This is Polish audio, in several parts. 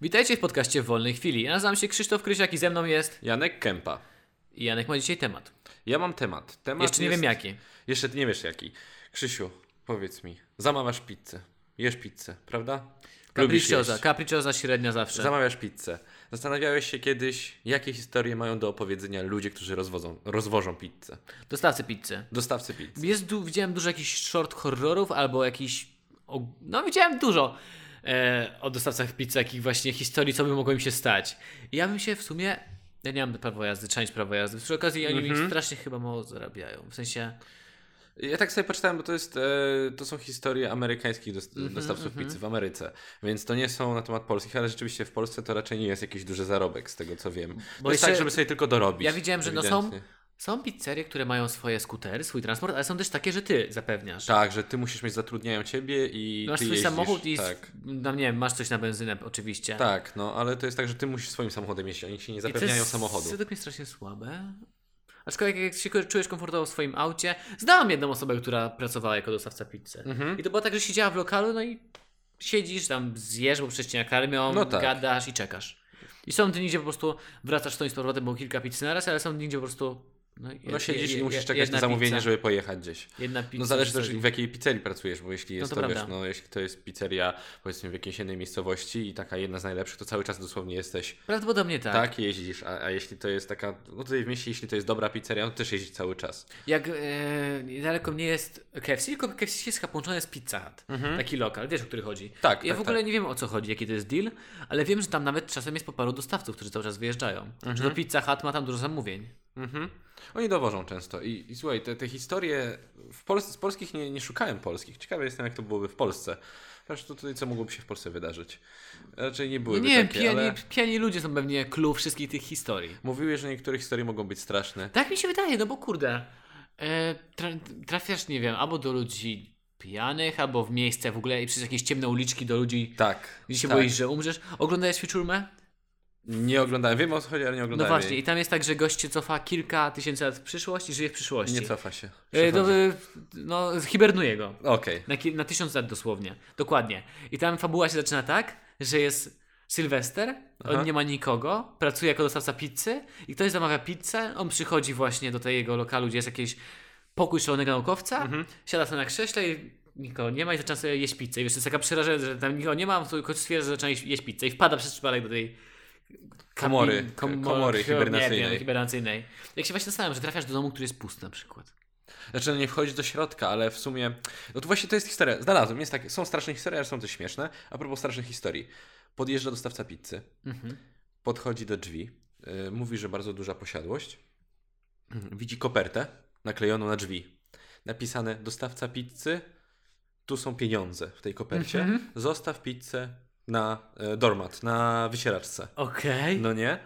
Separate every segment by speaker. Speaker 1: Witajcie w podcaście w wolnej chwili. Ja nazywam się Krzysztof Krysiak i ze mną jest
Speaker 2: Janek Kępa.
Speaker 1: i Janek ma dzisiaj temat.
Speaker 2: Ja mam temat. temat
Speaker 1: Jeszcze nie
Speaker 2: jest...
Speaker 1: wiem jaki.
Speaker 2: Jeszcze nie wiesz jaki. Krzysiu, powiedz mi. Zamawiasz pizzę. Jesz pizzę, prawda? Lubisz
Speaker 1: Capricciosa,
Speaker 2: jeść.
Speaker 1: capricciosa średnia zawsze.
Speaker 2: Zamawiasz pizzę. Zastanawiałeś się kiedyś, jakie historie mają do opowiedzenia ludzie, którzy rozwodzą, rozwożą pizzę.
Speaker 1: Dostawcy pizzy.
Speaker 2: Dostawcy pizzy.
Speaker 1: Jest du- widziałem dużo jakichś short horrorów albo jakiś. O, no, widziałem dużo e, o dostawcach pizzy, jakich właśnie historii, co by mogło im się stać. I ja bym się w sumie. Ja nie mam prawa jazdy, część prawa jazdy. Przy okazji oni
Speaker 2: Mhm.
Speaker 1: mi strasznie chyba mało zarabiają. W sensie.
Speaker 2: Ja tak sobie poczytałem, bo to, jest, e, to są historie amerykańskich dost,
Speaker 1: Mhm,
Speaker 2: dostawców pizzy w Ameryce, więc to nie są na temat polskich, ale rzeczywiście w Polsce to raczej nie jest jakiś duży zarobek, z tego co wiem. To jest
Speaker 1: jeszcze-
Speaker 2: tak, żeby sobie tylko dorobić.
Speaker 1: Ja widziałem, że no są,
Speaker 2: ewidentnie.
Speaker 1: są pizzerie, które mają swoje skutery, swój transport, ale są też takie, że ty zapewniasz.
Speaker 2: Tak, że ty musisz mieć, zatrudniają ciebie i
Speaker 1: masz
Speaker 2: ty
Speaker 1: swój
Speaker 2: jeździsz.
Speaker 1: samochód i.
Speaker 2: Tak.
Speaker 1: No, nie wiem, masz coś na benzynę, oczywiście.
Speaker 2: tak, no ale to jest tak, że ty musisz swoim samochodem jeździć, oni ci nie
Speaker 1: I to
Speaker 2: zapewniają
Speaker 1: jest
Speaker 2: samochodu.
Speaker 1: Według mnie strasznie słabe. Aczkolwiek jak się czujesz komfortowo w swoim aucie, znałam jedną osobę, która pracowała jako dostawca pizzy.
Speaker 2: Mhm.
Speaker 1: I to była tak, że siedziała w lokalu, no i siedzisz tam, zjesz, bo przecież cię nakarmią,
Speaker 2: No tak.
Speaker 1: gadasz i czekasz. I są dni, gdzie po prostu wracasz stąd i z powrotem, bo kilka pizzy na raz, ale są dni, gdzie po prostu... No, jed-
Speaker 2: No siedzisz
Speaker 1: je-
Speaker 2: i
Speaker 1: je-
Speaker 2: musisz czekać
Speaker 1: jedna
Speaker 2: na zamówienie,
Speaker 1: pizza,
Speaker 2: żeby pojechać gdzieś.
Speaker 1: Jedna pizza.
Speaker 2: No zależy
Speaker 1: czy coś.
Speaker 2: też w jakiej pizzerii pracujesz, bo jeśli jest
Speaker 1: to
Speaker 2: to, wiesz,
Speaker 1: prawda.
Speaker 2: no jeśli to jest pizzeria powiedzmy w jakiejś innej miejscowości i taka jedna z najlepszych, to cały czas dosłownie jesteś
Speaker 1: Prawdopodobnie tak.
Speaker 2: tak, jeździsz, a, a jeśli to jest taka, no tutaj w mieście, jeśli to jest dobra pizzeria, no to też jeździsz cały czas.
Speaker 1: Jak e, niedaleko mnie jest KFC, tylko KFC jest chyba połączone z Pizza Hut. Taki lokal, wiesz o który chodzi.
Speaker 2: Mhm. Tak,
Speaker 1: Ja
Speaker 2: tak,
Speaker 1: w ogóle nie wiem o co chodzi, jaki to jest deal, ale wiem, że tam nawet czasem jest po paru dostawców, którzy cały czas wyjeżdżają. Że to Pizza Hut ma tam dużo zamówień.
Speaker 2: Mhm. Oni dowożą często. I, i słuchaj, te, te historie w Polsce, z polskich nie, nie szukałem polskich. Ciekawy jestem, jak to byłoby w Polsce. Zresztą tutaj, co mogłoby się w Polsce wydarzyć. Raczej nie
Speaker 1: No
Speaker 2: byłyby
Speaker 1: nie wiem,
Speaker 2: takie,
Speaker 1: pijani,
Speaker 2: ale
Speaker 1: pijani ludzie są pewnie clue wszystkich tych historii.
Speaker 2: mówiły, że niektóre historie mogą być straszne.
Speaker 1: Tak mi się wydaje, no bo kurde, e, tra, trafiasz, nie wiem, albo do ludzi pijanych, albo w miejsce w ogóle i przez jakieś ciemne uliczki do ludzi,
Speaker 2: Tak.
Speaker 1: gdzie się
Speaker 2: tak.
Speaker 1: boisz, że umrzesz. Oglądałeś Wieczurmę?
Speaker 2: Nie oglądałem. Wiem o co chodzi, ale nie
Speaker 1: No
Speaker 2: oglądałem.
Speaker 1: właśnie,
Speaker 2: jej.
Speaker 1: i tam jest tak, że gość się cofa kilka tysięcy lat w przyszłość i żyje w przyszłości.
Speaker 2: Nie cofa się.
Speaker 1: E,
Speaker 2: Przechodzi.
Speaker 1: no, e, no, hibernuje go.
Speaker 2: Okej.
Speaker 1: Na, ki- na tysiąc lat dosłownie. Dokładnie. I tam fabuła się zaczyna tak, że jest Sylwester, on
Speaker 2: Aha.
Speaker 1: nie ma nikogo, pracuje jako dostawca pizzy i ktoś zamawia pizzę, on przychodzi właśnie do tego lokalu, gdzie jest jakiś pokój szalonego naukowca,
Speaker 2: Mhm.
Speaker 1: siada sobie na krześle i nikogo nie ma i zaczyna sobie jeść pizzę. I wiesz, to jest taka przerażająca, że tam nikogo nie ma, on tylko stwierdza, że zaczyna jeść- jeść pizzę i wpada przez przypadek do tej kabin-
Speaker 2: Komory, e,
Speaker 1: komo-
Speaker 2: komory
Speaker 1: nie
Speaker 2: hibernacyjnej.
Speaker 1: Wiem, hibernacyjnej. Jak się właśnie zastanawiam, że trafiasz do domu, który jest pusty na przykład.
Speaker 2: Znaczy no nie wchodzić do środka, ale w sumie. No to właśnie to jest historia. Znalazłem. Jest takie. Są straszne historie, ale są też śmieszne. A propos strasznych historii. Podjeżdża dostawca pizzy. Podchodzi do drzwi. y, mówi, że bardzo duża posiadłość. Mhm. Widzi kopertę naklejoną na drzwi. Napisane dostawca pizzy. Tu są pieniądze w tej kopercie. Zostaw pizzę na e, dormat, na wysieraczce.
Speaker 1: Okej.
Speaker 2: No nie?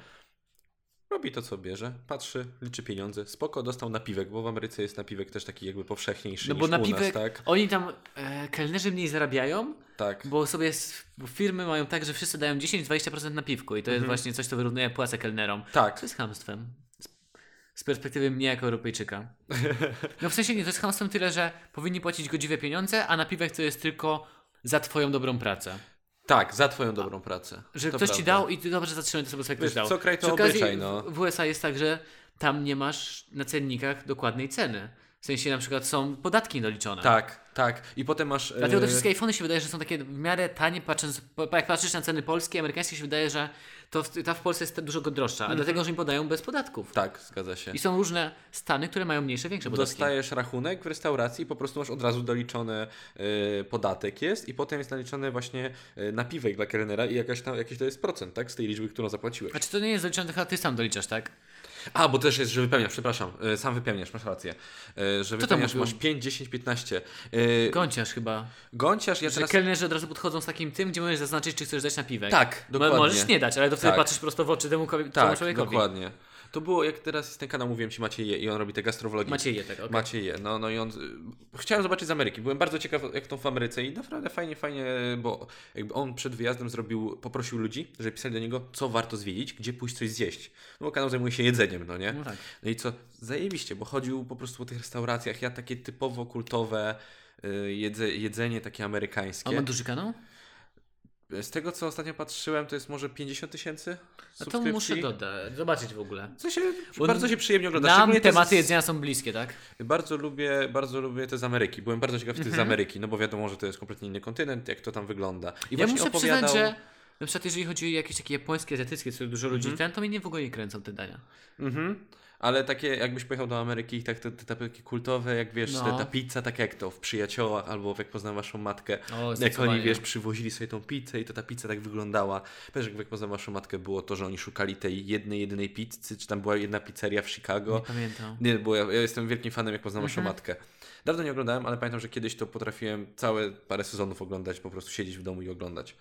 Speaker 2: Robi to, co bierze, patrzy, liczy pieniądze. Spoko, dostał napiwek, bo w Ameryce jest napiwek też taki jakby powszechniejszy
Speaker 1: No bo
Speaker 2: niż
Speaker 1: na
Speaker 2: u nas,
Speaker 1: piwek
Speaker 2: tak?
Speaker 1: oni tam, e, kelnerzy mniej zarabiają,
Speaker 2: Tak.
Speaker 1: bo sobie s- bo firmy mają tak, że wszyscy dają 10-20% na piwku i to
Speaker 2: Mhm.
Speaker 1: jest właśnie coś, co wyrównuje płacę kelnerom.
Speaker 2: Tak.
Speaker 1: To jest hamstwem. Z perspektywy mnie jako Europejczyka. No w sensie nie, to jest hamstwem tyle, że powinni płacić godziwe pieniądze, a na piwek to jest tylko za twoją dobrą pracę.
Speaker 2: Tak, za twoją dobrą pracę.
Speaker 1: Że
Speaker 2: To
Speaker 1: ktoś ci
Speaker 2: prawda.
Speaker 1: dał i ty dobrze zatrzymaj to sobie sobie ktoś
Speaker 2: Wiesz,
Speaker 1: dał.
Speaker 2: co kraj to
Speaker 1: Przy okazji
Speaker 2: obyczaj, no.
Speaker 1: W w USA jest tak, że tam nie masz na cennikach dokładnej ceny. W sensie na przykład są podatki doliczone.
Speaker 2: Tak, tak. I potem masz...
Speaker 1: Dlatego te
Speaker 2: e,
Speaker 1: wszystkie iPhony się wydaje, że są takie w miarę tanie, patrząc, po- jak patrzysz na ceny polskie, amerykańskie się wydaje, że to w, ta w Polsce jest dużo droższa, a dlatego, że im podają bez podatków.
Speaker 2: Mhm. Tak, zgadza się.
Speaker 1: I są różne stany, które mają mniejsze, większe podatki.
Speaker 2: Dostajesz rachunek w restauracji i po prostu masz od razu doliczony e, podatek jest i potem jest naliczony właśnie e, napiwek dla kelnera i jakaś tam, jakiś to jest procent, tak? Z tej liczby, którą zapłaciłeś.
Speaker 1: Znaczy to nie jest doliczone, to chyba ty sam doliczasz, tak?
Speaker 2: A, bo też jest, że wypełniasz, przepraszam, e, sam wypełniasz, masz rację. E, Że wypełniasz,
Speaker 1: mówił?
Speaker 2: masz 5, 10, 15. E,
Speaker 1: Gąciarz chyba.
Speaker 2: Gąciarz, ja
Speaker 1: Że
Speaker 2: teraz...
Speaker 1: kelnerzy od razu podchodzą z takim tym, gdzie możesz zaznaczyć, czy chcesz dać na piwek.
Speaker 2: Tak,
Speaker 1: Mo-
Speaker 2: dokładnie.
Speaker 1: Możesz nie dać, ale to wtedy
Speaker 2: Tak.
Speaker 1: patrzysz prosto w oczy temu, kobi- temu
Speaker 2: tak,
Speaker 1: człowiekowi.
Speaker 2: dokładnie. To było, jak teraz jest ten kanał, mówiłem Ci Macieje i on robi te gastrowlogi.
Speaker 1: Macieje tak, okej.
Speaker 2: Macieje, no, no i on... y, Chciałem zobaczyć z Ameryki, byłem bardzo ciekaw, jak to w Ameryce i naprawdę fajnie, fajnie, bo jakby on przed wyjazdem zrobił, poprosił ludzi, żeby pisali do niego, co warto zwiedzić, gdzie pójść coś zjeść. No bo kanał zajmuje się jedzeniem, no nie?
Speaker 1: No tak.
Speaker 2: No i co? Zajebiście, bo chodził po prostu po tych restauracjach. Ja takie typowo kultowe y, jedze, jedzenie takie amerykańskie.
Speaker 1: A ma duży kanał?
Speaker 2: Z tego, co ostatnio patrzyłem, to jest może 50 tysięcy
Speaker 1: A to
Speaker 2: subskrypcji.
Speaker 1: muszę dodać, zobaczyć w ogóle.
Speaker 2: Co się,
Speaker 1: Bo
Speaker 2: bardzo się przyjemnie ogląda.
Speaker 1: Nam
Speaker 2: Szczególnie te z-
Speaker 1: tematy jedzenia są bliskie, tak?
Speaker 2: Bardzo lubię, bardzo lubię te z Ameryki. Byłem bardzo ciekaw
Speaker 1: Mhm.
Speaker 2: tych z Ameryki, no bo wiadomo, że to jest kompletnie inny kontynent, jak to tam wygląda. I
Speaker 1: ja
Speaker 2: właśnie
Speaker 1: muszę
Speaker 2: opowiadał...
Speaker 1: przyznać, że na przykład jeżeli chodzi o jakieś takie japońskie, azjatyckie, co dużo ludzi ten, to mnie nie w ogóle nie kręcą te dania.
Speaker 2: Mhm. Ale takie, jakbyś pojechał do Ameryki i tak te, te, takie kultowe, jak wiesz,
Speaker 1: No.
Speaker 2: te, ta pizza, tak jak to w Przyjaciołach albo w Jak poznam waszą matkę.
Speaker 1: O,
Speaker 2: jak
Speaker 1: zdecydowanie.
Speaker 2: oni, wiesz, przywozili sobie tą pizzę i to ta pizza tak wyglądała. Wiesz, jak w Jak poznam waszą matkę było to, że oni szukali tej jednej, jedynej pizzy, czy tam była jedna pizzeria w Chicago.
Speaker 1: Nie pamiętam. Mhm.
Speaker 2: Nie, bo ja, ja jestem wielkim fanem, jak poznam waszą matkę. Dawno nie oglądałem, ale pamiętam, że kiedyś to potrafiłem całe parę sezonów oglądać, po prostu siedzieć w domu i oglądać.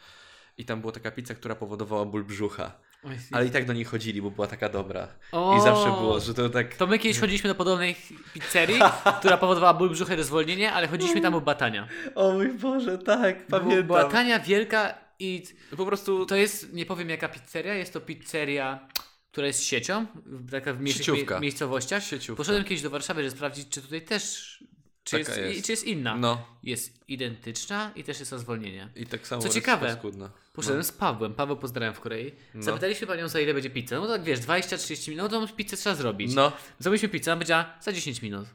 Speaker 2: I tam była taka pizza, która powodowała ból brzucha.
Speaker 1: Oj,
Speaker 2: Ale i tak do niej chodzili, bo była taka dobra.
Speaker 1: O!
Speaker 2: I zawsze było, że to tak.
Speaker 1: To my kiedyś chodziliśmy do podobnej pizzerii, która powodowała ból brzucha i rozwolnienie, ale chodziliśmy tam o batania.
Speaker 2: O mój Boże, tak,
Speaker 1: Była tania, wielka i
Speaker 2: Po prostu
Speaker 1: to jest, nie powiem jaka pizzeria, jest to pizzeria, która jest siecią, w- taka w mniejszych
Speaker 2: Sieciówka.
Speaker 1: mie- miejscowościach.
Speaker 2: Sieciówka.
Speaker 1: Poszedłem kiedyś do Warszawy, żeby sprawdzić, czy tutaj też, czy,
Speaker 2: Taka
Speaker 1: jest, i-
Speaker 2: jest.
Speaker 1: czy jest inna.
Speaker 2: No.
Speaker 1: Jest identyczna i też jest o zwolnienie.
Speaker 2: I tak samo
Speaker 1: Co
Speaker 2: jest
Speaker 1: ciekawe,
Speaker 2: paskudna.
Speaker 1: Poszedłem z Pawłem, Paweł pozdrawiam w Korei.
Speaker 2: No.
Speaker 1: Zapytaliśmy panią za ile będzie pizza. No tak wiesz, 20-30 minut, no to pizzę trzeba zrobić.
Speaker 2: No.
Speaker 1: Zrobiliśmy pizzę, a powiedziała za 10 minut.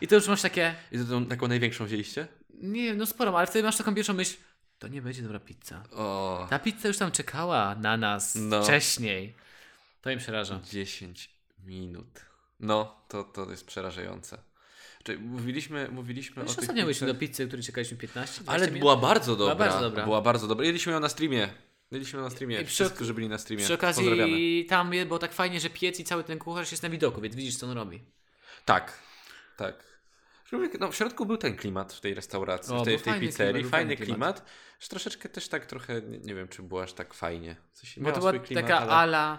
Speaker 1: I to już masz takie,
Speaker 2: I to tą taką największą wzięliście?
Speaker 1: nie wiem, no sporą, ale wtedy masz taką pierwszą myśl, to nie będzie dobra pizza.
Speaker 2: O.
Speaker 1: Ta pizza już tam czekała na nas
Speaker 2: No.
Speaker 1: wcześniej. To im przeraża.
Speaker 2: 10 minut. No, to, to jest przerażające. Czyli mówiliśmy, mówiliśmy
Speaker 1: No
Speaker 2: o
Speaker 1: już
Speaker 2: tych
Speaker 1: ostatnio byliśmy do
Speaker 2: pizzach-
Speaker 1: pizzy, której czekaliśmy 15
Speaker 2: Ale
Speaker 1: 20
Speaker 2: była bardzo dobra.
Speaker 1: bardzo dobra.
Speaker 2: Była bardzo dobra. Jedliśmy ją na streamie. Jedliśmy ją na streamie.
Speaker 1: I przy-
Speaker 2: Wszyscy, którzy byli na streamie.
Speaker 1: Przy
Speaker 2: Pozdrawiamy.
Speaker 1: okazji tam je- było tak fajnie, że piec i cały ten kucharz jest na widoku, więc widzisz co on robi.
Speaker 2: Tak, tak. Człowiek- No, w środku był ten klimat w tej restauracji,
Speaker 1: O,
Speaker 2: w tej,
Speaker 1: był
Speaker 2: w tej
Speaker 1: fajny
Speaker 2: pizzerii.
Speaker 1: klimat, był
Speaker 2: fajny
Speaker 1: fajny
Speaker 2: klimat. że Troszeczkę też tak trochę, nie, nie wiem, czy było aż tak fajnie. W sensie
Speaker 1: Bo
Speaker 2: miała
Speaker 1: to była
Speaker 2: swój klimat,
Speaker 1: taka
Speaker 2: ale
Speaker 1: ala...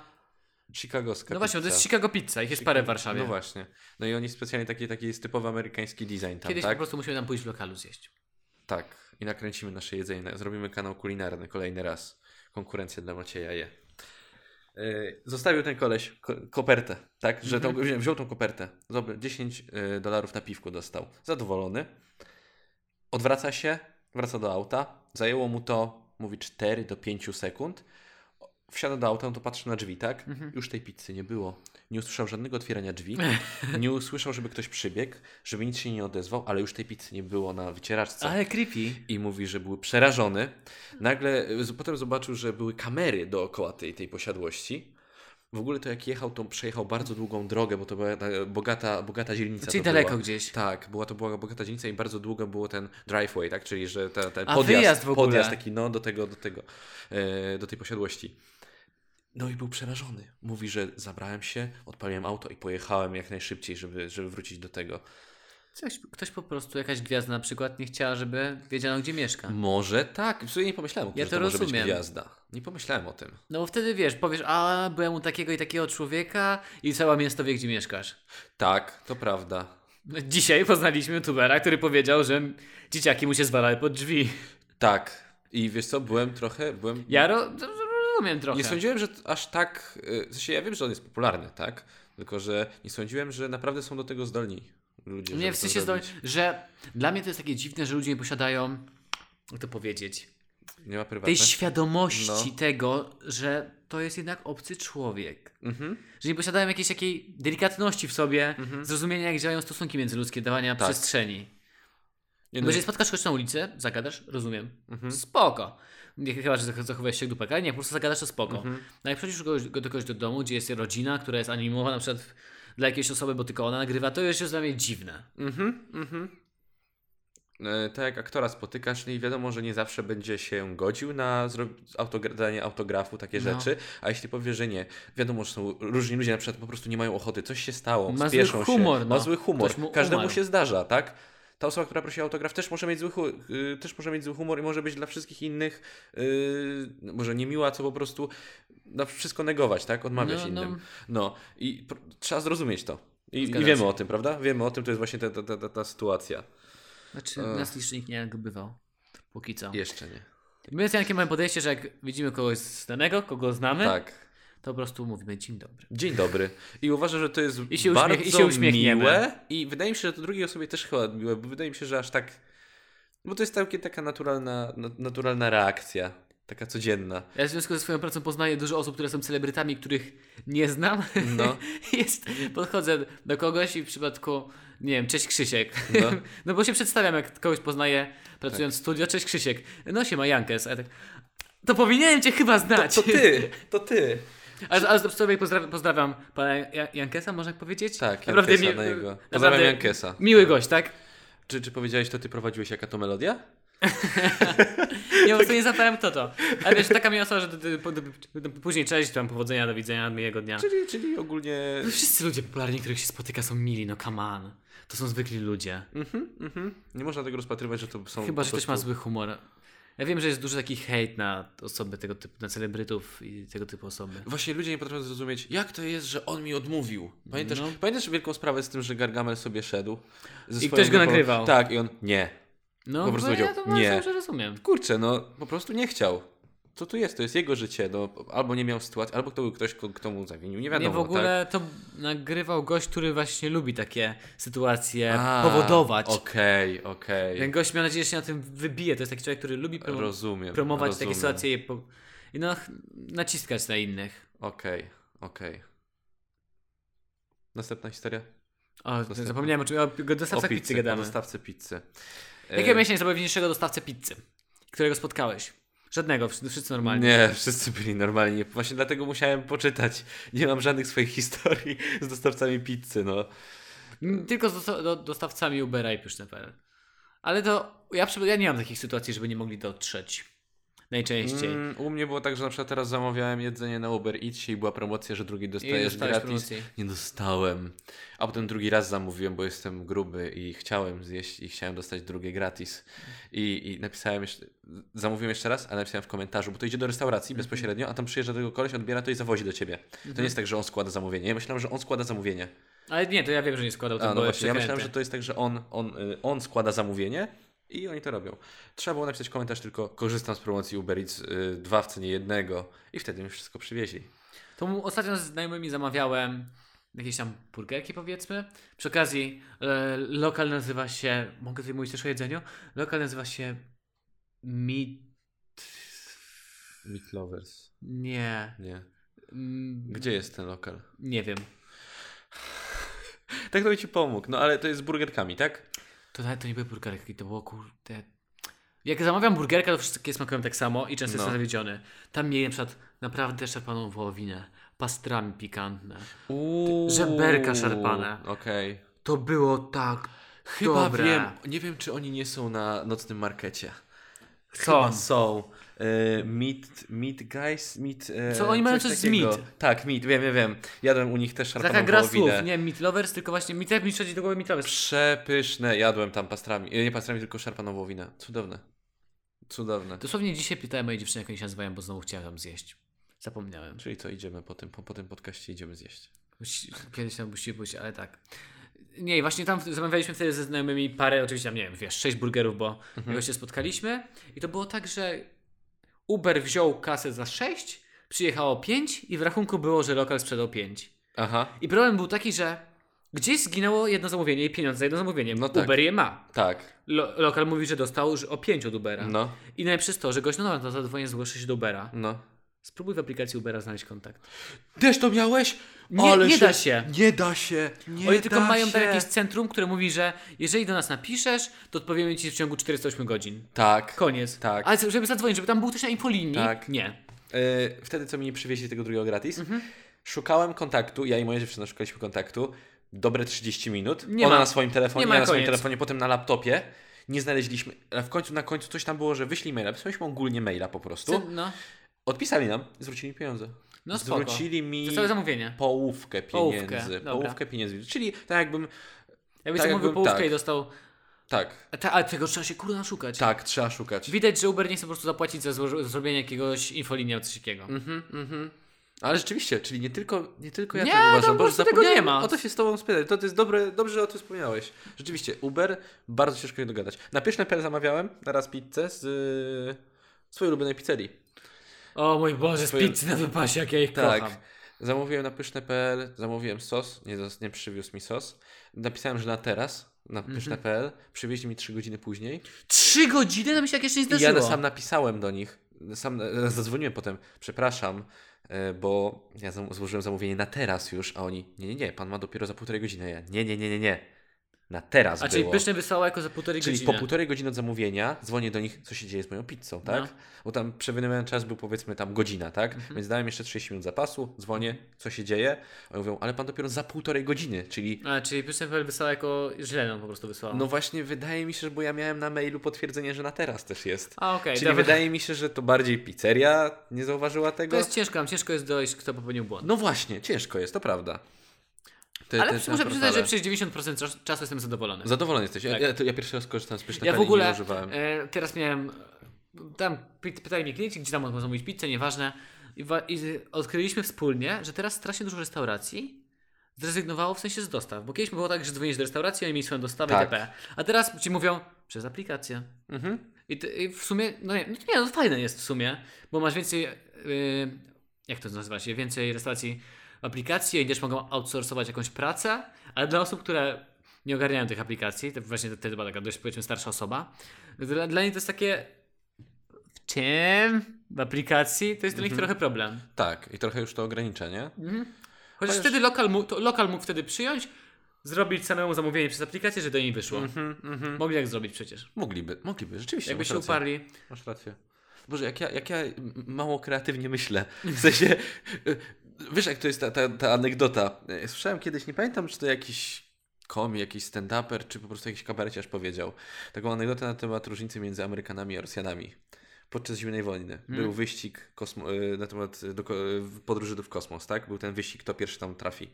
Speaker 2: chicagowska
Speaker 1: No właśnie, to
Speaker 2: pizza.
Speaker 1: jest Chicago Pizza, ich jest parę w Warszawie.
Speaker 2: No właśnie. No i oni specjalnie taki, taki jest typowy amerykański design tam,
Speaker 1: Kiedyś
Speaker 2: tak?
Speaker 1: po prostu musimy tam pójść w lokalu zjeść.
Speaker 2: Tak. I nakręcimy nasze jedzenie. Zrobimy kanał kulinarny kolejny raz. Konkurencja dla Macieja je. Yy, Zostawił ten koleś ko- kopertę, tak? Że tą, wziął- wziął tą kopertę. Zobacz, 10 yy, dolarów na piwku dostał. Zadowolony. Odwraca się, wraca do auta. Zajęło mu to, mówi, 4 do 5 sekund. Wsiada do auta, no to patrzy na drzwi, tak? Już tej pizzy nie było. Nie usłyszał żadnego otwierania drzwi. Nie usłyszał, żeby ktoś przybiegł, żeby nic się nie odezwał, ale już tej pizzy nie było na wycieraczce
Speaker 1: Ale creepy.
Speaker 2: i mówi, że był przerażony. Nagle y, z- potem zobaczył, że były kamery dookoła tej, tej posiadłości. W ogóle to jak jechał, to przejechał bardzo długą drogę, bo to była ta bogata, bogata dzielnica.
Speaker 1: Czyli
Speaker 2: to
Speaker 1: daleko
Speaker 2: była.
Speaker 1: gdzieś.
Speaker 2: Tak, była to była bogata dzielnica i bardzo długo było ten driveway, tak? Czyli że ta, ten
Speaker 1: A,
Speaker 2: podjazd,
Speaker 1: wyjazd w ogóle.
Speaker 2: podjazd taki no do tego, do tego, e, do tej posiadłości. No i był przerażony. Mówi, że zabrałem się, odpaliłem auto i pojechałem jak najszybciej, żeby, żeby wrócić do tego.
Speaker 1: Coś, ktoś po prostu, jakaś gwiazda na przykład nie chciała, żeby wiedziano gdzie mieszka.
Speaker 2: Może tak. W sumie nie pomyślałem o tym,
Speaker 1: Ja
Speaker 2: że
Speaker 1: to
Speaker 2: to może być
Speaker 1: rozumiem.
Speaker 2: gwiazda. Nie pomyślałem o tym.
Speaker 1: No bo wtedy wiesz, powiesz, a byłem u takiego i takiego człowieka i całe miasto wie gdzie mieszkasz. No,
Speaker 2: Tak, to prawda.
Speaker 1: Dzisiaj poznaliśmy youtubera, który powiedział, że dzieciaki mu się zwalały pod drzwi.
Speaker 2: Tak. I wiesz co, byłem trochę, byłem...
Speaker 1: Ja ro- rozumiem trochę.
Speaker 2: nie sądziłem, że t- aż tak... y, W sensie ja wiem, że on jest popularny, tak? Tylko, że nie sądziłem, że naprawdę są do tego zdolni ludzie. żeby
Speaker 1: Nie, w
Speaker 2: to
Speaker 1: sensie zdolni,
Speaker 2: zrobić.
Speaker 1: że dla mnie to jest takie dziwne, że ludzie nie posiadają, jak to powiedzieć,
Speaker 2: Nie ma prywatne.
Speaker 1: tej świadomości
Speaker 2: No.
Speaker 1: tego, że to jest jednak obcy człowiek.
Speaker 2: Mhm.
Speaker 1: Że nie posiadają jakiejś takiej delikatności w sobie, zrozumienia, jak działają stosunki międzyludzkie, dawania
Speaker 2: Tak.
Speaker 1: przestrzeni.
Speaker 2: Nie,
Speaker 1: Bo
Speaker 2: no,
Speaker 1: jeżeli spotkasz kogoś na ulicy, zagadasz, rozumiem,
Speaker 2: Mhm.
Speaker 1: spoko. Nie, chyba, że zach- zachowujesz się jak dupek, ale nie, po prostu zagadasz, to spoko.
Speaker 2: Mhm.
Speaker 1: No jak przychodzisz kogoś, do kogoś do domu, gdzie jest rodzina, która jest anonimowa na przykład dla jakiejś osoby, bo tylko ona nagrywa, to już jest dla mnie dziwne.
Speaker 2: Mhm, mhm. E, Tak jak aktora spotykasz, no i wiadomo, że nie zawsze będzie się godził na zro... autogra- danie autografu, takie
Speaker 1: No.
Speaker 2: rzeczy, a jeśli powie, że nie, wiadomo, że są różni ludzie, na przykład po prostu nie mają ochoty, coś się stało,
Speaker 1: Ma zły
Speaker 2: spieszą się,
Speaker 1: humor, no.
Speaker 2: ma zły humor,
Speaker 1: Ktoś mu
Speaker 2: każdemu
Speaker 1: umarł.
Speaker 2: się zdarza, tak? Ta osoba, która prosi o autograf, też może, mieć zły hu- y, też może mieć zły humor i może być dla wszystkich innych, yy, może niemiła, co po prostu na wszystko negować, tak? Odmawiać
Speaker 1: No, no.
Speaker 2: innym. No i pr- trzeba zrozumieć to. I,
Speaker 1: Zgadzam
Speaker 2: I wiemy
Speaker 1: się.
Speaker 2: o tym, prawda? Wiemy o tym, to jest właśnie ta, ta, ta, ta, ta sytuacja.
Speaker 1: Znaczy,
Speaker 2: Ech.
Speaker 1: nas jeszcze nikt nie nagobywał. Póki co.
Speaker 2: Jeszcze nie.
Speaker 1: My z Jankiem mamy podejście, że jak widzimy kogoś znanego, kogo znamy,
Speaker 2: Tak.
Speaker 1: to po prostu mówimy dzień dobry.
Speaker 2: Dzień dobry. I uważam, że to jest
Speaker 1: I się uśmiech-
Speaker 2: bardzo
Speaker 1: i się uśmiechniemy.
Speaker 2: miłe i wydaje mi się, że to drugiej osobie też chyba miłe, bo wydaje mi się, że aż tak... Bo to jest całkiem taka naturalna, na- naturalna reakcja. Taka codzienna.
Speaker 1: Ja w związku ze swoją pracą poznaję dużo osób, które są celebrytami, których nie znam.
Speaker 2: No.
Speaker 1: Jest, podchodzę do kogoś i w przypadku, nie wiem, cześć Krzysiek. No,
Speaker 2: No. Tak.
Speaker 1: bo się przedstawiam, jak kogoś poznaję pracując w studio, cześć Krzysiek. No siema, Jankes. A ja tak, to powinienem cię chyba znać.
Speaker 2: To ty, to ty.
Speaker 1: Ale, ale sobie pozdrawiam, pozdrawiam pana Ja- Jankesa, można powiedzieć?
Speaker 2: Tak,
Speaker 1: Naprawdę
Speaker 2: Jankesa
Speaker 1: mi-
Speaker 2: na jego.
Speaker 1: naprawdę
Speaker 2: Pozdrawiam Jankesa.
Speaker 1: Miły gość, tak?
Speaker 2: Czy, czy powiedziałeś, to ty prowadziłeś jaka to melodia?
Speaker 1: Ja po
Speaker 2: Tak.
Speaker 1: prostu nie zapałem kto to. Ale wiesz, taka miała osoba, że d- d- po- d- później cześć, tam powodzenia, do widzenia, miłego dnia.
Speaker 2: Czyli, czyli ogólnie...
Speaker 1: Wszyscy ludzie popularni, których się spotyka są mili, no come on. To są zwykli ludzie.
Speaker 2: Mhm, mhm. Nie można tego rozpatrywać, że to są...
Speaker 1: Chyba,
Speaker 2: po
Speaker 1: że ktoś
Speaker 2: prostu-
Speaker 1: ma zły humor. Ja wiem, że jest dużo taki hejt na osoby tego typu, na celebrytów i tego typu osoby.
Speaker 2: Właśnie ludzie nie potrafią zrozumieć, jak to jest, że on mi odmówił. Pamiętasz,
Speaker 1: No.
Speaker 2: pamiętasz wielką sprawę z tym, że Gargamel sobie szedł? ze
Speaker 1: I
Speaker 2: swoją
Speaker 1: ktoś go
Speaker 2: grupą?
Speaker 1: nagrywał.
Speaker 2: Tak, i on nie.
Speaker 1: No,
Speaker 2: Po prostu
Speaker 1: bo ja
Speaker 2: powiedział,
Speaker 1: to bardzo
Speaker 2: nie.
Speaker 1: dobrze rozumiem.
Speaker 2: Kurczę, no po prostu nie chciał. Co tu jest? To jest jego życie. No, albo nie miał sytuacji, albo to był ktoś, ko- kto mu zawinił. Nie wiadomo.
Speaker 1: Nie, w
Speaker 2: tak?
Speaker 1: ogóle to nagrywał gość, który właśnie lubi takie sytuacje
Speaker 2: tak? A,
Speaker 1: powodować.
Speaker 2: Okej, okej.
Speaker 1: Ten gość mam nadzieję, że się na tym wybije. To jest taki człowiek, który lubi prom-
Speaker 2: Rozumiem.
Speaker 1: promować
Speaker 2: rozumiem.
Speaker 1: takie sytuacje i, po- i no, ch- naciskać na innych.
Speaker 2: Okej, okej. Następna historia?
Speaker 1: O,
Speaker 2: Dostawca-
Speaker 1: zapomniałem o czym. O go dostawca pizzy,
Speaker 2: o
Speaker 1: gadamy.
Speaker 2: dostawcy pizzy. E,
Speaker 1: Jakiego miałeś najzabawniejszego dostawcę pizzy, którego spotkałeś? Żadnego, wszyscy wszyscy normalni.
Speaker 2: Nie, wszyscy byli normalni. Właśnie dlatego musiałem poczytać. Nie mam żadnych swoich historii z dostawcami pizzy, no.
Speaker 1: Mm, Tylko z dosta- do, dostawcami Ubera i Pyszne.pl. Ale to ja, przy- ja nie mam takich sytuacji, żeby nie mogli dotrzeć. Najczęściej.
Speaker 2: Mm, u mnie było tak, że na przykład teraz zamawiałem jedzenie na Uber Eats i była promocja, że drugi
Speaker 1: I
Speaker 2: dostajesz
Speaker 1: dostałeś
Speaker 2: gratis.
Speaker 1: promocję.
Speaker 2: Nie dostałem. A potem drugi raz zamówiłem, bo jestem gruby i chciałem zjeść i chciałem dostać drugie gratis. I, i napisałem jeszcze, zamówiłem jeszcze raz, a napisałem w komentarzu, bo to idzie do
Speaker 1: Mhm.
Speaker 2: restauracji bezpośrednio, a tam przyjeżdża do tego koleś, odbiera to i zawozi do ciebie. To nie jest tak, że on składa zamówienie. Ja myślałem, że on składa zamówienie.
Speaker 1: Ale nie, to ja wiem, że nie składał
Speaker 2: A,
Speaker 1: tego.
Speaker 2: no właśnie, ja myślałem, że to jest tak, że on, on, y, on składa zamówienie i oni to robią. Trzeba było napisać komentarz tylko korzystam z promocji Uber Eats y, dwa w cenie jednego i wtedy mi wszystko przywieźli.
Speaker 1: To mu ostatnio ze znajomymi zamawiałem jakieś tam burgerki powiedzmy. Przy okazji e, lokal nazywa się, mogę tutaj mówić też o jedzeniu, lokal nazywa się Meat,
Speaker 2: Meat Lovers.
Speaker 1: nie,
Speaker 2: Nie.
Speaker 1: Mm,
Speaker 2: Gdzie jest ten lokal?
Speaker 1: nie wiem.
Speaker 2: Tak to by ci pomógł, no ale to jest z burgerkami, tak?
Speaker 1: To nawet to nie były burgerki, to było kurde. Jak zamawiam burgerka, to wszystkie smakują tak samo i często
Speaker 2: No.
Speaker 1: jestem zawiedziony. Tam mieli na przykład naprawdę szarpaną wołowinę, pastrami pikantne.
Speaker 2: Uuu,
Speaker 1: żeberka szarpane.
Speaker 2: Okej.
Speaker 1: To było tak
Speaker 2: Chyba
Speaker 1: dobre.
Speaker 2: wiem, nie wiem czy oni nie są na nocnym markecie.
Speaker 1: Co?
Speaker 2: Chyba są. E, meat, meat guys, meat... e,
Speaker 1: Co, oni mają coś z
Speaker 2: takiego.
Speaker 1: meat?
Speaker 2: Tak, meat, wiem, wiem, wiem. Jadłem u nich też szarpaną
Speaker 1: Taka gra
Speaker 2: wołowinę.
Speaker 1: słów, nie meat lovers, tylko właśnie meat, jak mi przychodzi do głowy meat lovers.
Speaker 2: Przepyszne, jadłem tam pastrami, e, nie pastrami, tylko szarpaną wołowinę. Cudowne. Cudowne.
Speaker 1: Dosłownie dzisiaj pytałem mojej dziewczyny, jak oni się nazywają, bo znowu chciałem tam zjeść. Zapomniałem.
Speaker 2: Czyli co, idziemy po tym, po, po tym podcaście idziemy zjeść.
Speaker 1: Musi- Kiedyś tam musi pójść, ale tak. Nie, i właśnie tam zamawialiśmy wtedy ze znajomymi parę, oczywiście tam, nie wiem, wiesz, sześć burgerów, bo
Speaker 2: Mhm.
Speaker 1: jakoś się spotkaliśmy. I to było tak, że Uber wziął kasę za sześć, przyjechało pięć i w rachunku było, że lokal sprzedał pięć.
Speaker 2: Aha,
Speaker 1: I problem był taki, że gdzieś zginęło jedno zamówienie i pieniądze za jedno zamówienie.
Speaker 2: No tak.
Speaker 1: Uber je ma.
Speaker 2: tak.
Speaker 1: Lo- lokal mówi, że dostał już o pięć od Ubera.
Speaker 2: No,
Speaker 1: I najlepsze jest to, że gość, no dobra, to zadzwonię, zgłoszę się do Ubera.
Speaker 2: no.
Speaker 1: Spróbuj w aplikacji Ubera znaleźć kontakt.
Speaker 2: Też to miałeś?
Speaker 1: Nie-
Speaker 2: Ale
Speaker 1: nie da się.
Speaker 2: Nie da się. Nie
Speaker 1: Oni tylko
Speaker 2: da
Speaker 1: mają tam
Speaker 2: się.
Speaker 1: jakieś centrum, które mówi, że jeżeli do nas napiszesz, to odpowiemy ci w ciągu 48 godzin.
Speaker 2: Tak.
Speaker 1: Koniec.
Speaker 2: Tak.
Speaker 1: Ale żeby zadzwonić, żeby tam był ktoś na infolinii.
Speaker 2: Tak.
Speaker 1: Nie.
Speaker 2: E, wtedy, co mi nie przywieźli tego drugiego gratis,
Speaker 1: Mhm.
Speaker 2: szukałem kontaktu, ja i moja dziewczyna szukaliśmy kontaktu, dobre 30 minut,
Speaker 1: Nie
Speaker 2: ona
Speaker 1: ma.
Speaker 2: na swoim telefonie,
Speaker 1: Nie ma,
Speaker 2: ja na swoim
Speaker 1: koniec.
Speaker 2: telefonie, potem na laptopie, nie znaleźliśmy, a w końcu, na końcu coś tam było, że wyślij maila, wysłaliśmy ogólnie maila po prostu,
Speaker 1: Syn- No,
Speaker 2: odpisali nam i zwrócili pieniądze.
Speaker 1: no spoko.
Speaker 2: zwrócili mi
Speaker 1: To całe zamówienie.
Speaker 2: połówkę
Speaker 1: Połówkę,
Speaker 2: pieniędzy,
Speaker 1: dobra.
Speaker 2: połówkę, pieniędzy, czyli tak jakbym,
Speaker 1: Jakbyś
Speaker 2: Tak,
Speaker 1: zamówił
Speaker 2: jakbym-
Speaker 1: połówkę
Speaker 2: tak.
Speaker 1: i dostał...
Speaker 2: tak,
Speaker 1: A, ta, ale tego trzeba się kurwa szukać.
Speaker 2: tak, trzeba szukać.
Speaker 1: Widać, że Uber nie chce po prostu zapłacić za zło- zrobienie jakiegoś infolinia czy coś takiego.
Speaker 2: Mhm. Ale rzeczywiście, czyli nie tylko, nie tylko ja
Speaker 1: Nie,
Speaker 2: tak uważam.
Speaker 1: tam po
Speaker 2: Boże,
Speaker 1: prostu tego
Speaker 2: zapomniałem
Speaker 1: nie ma.
Speaker 2: O to się z tobą spytać. To, to jest dobre, dobrze, że o tym wspomniałeś. Rzeczywiście, Uber, bardzo ciężko je dogadać. Na pyszne.pl zamawiałem raz pizzę z yy, swojej ulubionej pizzerii.
Speaker 1: O mój Boże, z
Speaker 2: Twoje-
Speaker 1: pizzy na wypasie, jak ja ich
Speaker 2: Tak.
Speaker 1: kocham.
Speaker 2: Zamówiłem na pyszne.pl, zamówiłem sos, nie, zas- nie przywiózł mi sos. Napisałem, że na teraz, na
Speaker 1: Mhm.
Speaker 2: pyszne.pl, przywieźli mi trzy godziny później.
Speaker 1: Trzy godziny? No mi się jak jeszcze nie
Speaker 2: I
Speaker 1: zdarzyło.
Speaker 2: ja sam napisałem do nich sam e, zadzwoniłem potem, przepraszam, e, bo ja zam- złożyłem zamówienie na teraz już, a oni, nie, nie, nie, pan ma dopiero za półtorej godziny. Ja, nie, nie, nie, nie, nie, na teraz
Speaker 1: A czyli
Speaker 2: było.
Speaker 1: pyszne wysłała jako za półtorej
Speaker 2: Czyli
Speaker 1: godziny.
Speaker 2: po półtorej godziny od zamówienia dzwonię do nich, co się dzieje z moją pizzą, tak?
Speaker 1: No. Mhm.
Speaker 2: Bo tam przewidywany czas był powiedzmy tam godzina, tak? Więc dałem jeszcze 30 minut zapasu, dzwonię, co się dzieje. Oni mówią, ale pan dopiero za półtorej godziny, czyli
Speaker 1: A, czyli pyszne wysłała jako źle nam po prostu wysłała.
Speaker 2: no właśnie wydaje mi się, że bo ja miałem na mailu potwierdzenie, że na teraz też jest.
Speaker 1: A okej,
Speaker 2: czyli
Speaker 1: dobra.
Speaker 2: wydaje mi się, że to bardziej pizzeria nie zauważyła tego.
Speaker 1: To jest ciężko, nam ciężko jest dojść, kto popełnił błąd.
Speaker 2: No właśnie, ciężko jest, to prawda. Te-
Speaker 1: Ale
Speaker 2: te-
Speaker 1: przy-
Speaker 2: te
Speaker 1: muszę przyznać, że
Speaker 2: portale.
Speaker 1: przez 90% czas- czasu jestem zadowolony.
Speaker 2: Zadowolony jesteś. Ja-
Speaker 1: Tak.
Speaker 2: Ja, to ja pierwszy raz korzystam z pysznego
Speaker 1: Ja w ogóle
Speaker 2: nie używałem.
Speaker 1: e, teraz miałem. Tam py- pytali mnie klienci, gdzie tam można zamówić pizzę, nieważne. I, wa- I z- odkryliśmy wspólnie, że teraz strasznie dużo restauracji zrezygnowało w sensie z dostaw. Bo kiedyś było tak, że dzwonisz do restauracji, oni mieli swoją dostawę
Speaker 2: Tak.
Speaker 1: itp. A teraz ci mówią przez aplikację.
Speaker 2: Mhm.
Speaker 1: I, ty, i w sumie, no nie, no nie, no fajne jest w sumie, bo masz więcej, y, jak to nazywa się, więcej restauracji w aplikacji i też mogą outsourcować jakąś pracę, ale dla osób, które nie ogarniają tych aplikacji, to właśnie to, to była taka dość powiedzmy starsza osoba, dla, dla nich to jest takie, w czym? W aplikacji? To jest dla nich trochę problem.
Speaker 2: Tak, i trochę już to ogranicza, nie?
Speaker 1: Chociaż wtedy lokal, mu, to lokal mógł wtedy przyjąć, zrobić samemu zamówienie przez aplikację, że do niej wyszło. Mogli tak zrobić przecież.
Speaker 2: Mogliby, mogliby, rzeczywiście.
Speaker 1: Jakby
Speaker 2: masz
Speaker 1: się
Speaker 2: rację.
Speaker 1: uparli.
Speaker 2: Masz rację. Boże, jak ja, jak ja m- mało kreatywnie myślę. W sensie, y, wiesz jak to jest ta, ta, ta anegdota. Y, Słyszałem kiedyś, nie pamiętam czy to jakiś komik, jakiś stand-uper, czy po prostu jakiś kabareciarz powiedział. Taką anegdotę na temat różnicy między Amerykanami a Rosjanami. Podczas zimnej wojny był wyścig kosmo- y, na temat y, do, ko- y, podróży do w kosmos, tak? Był ten wyścig, kto pierwszy tam trafi.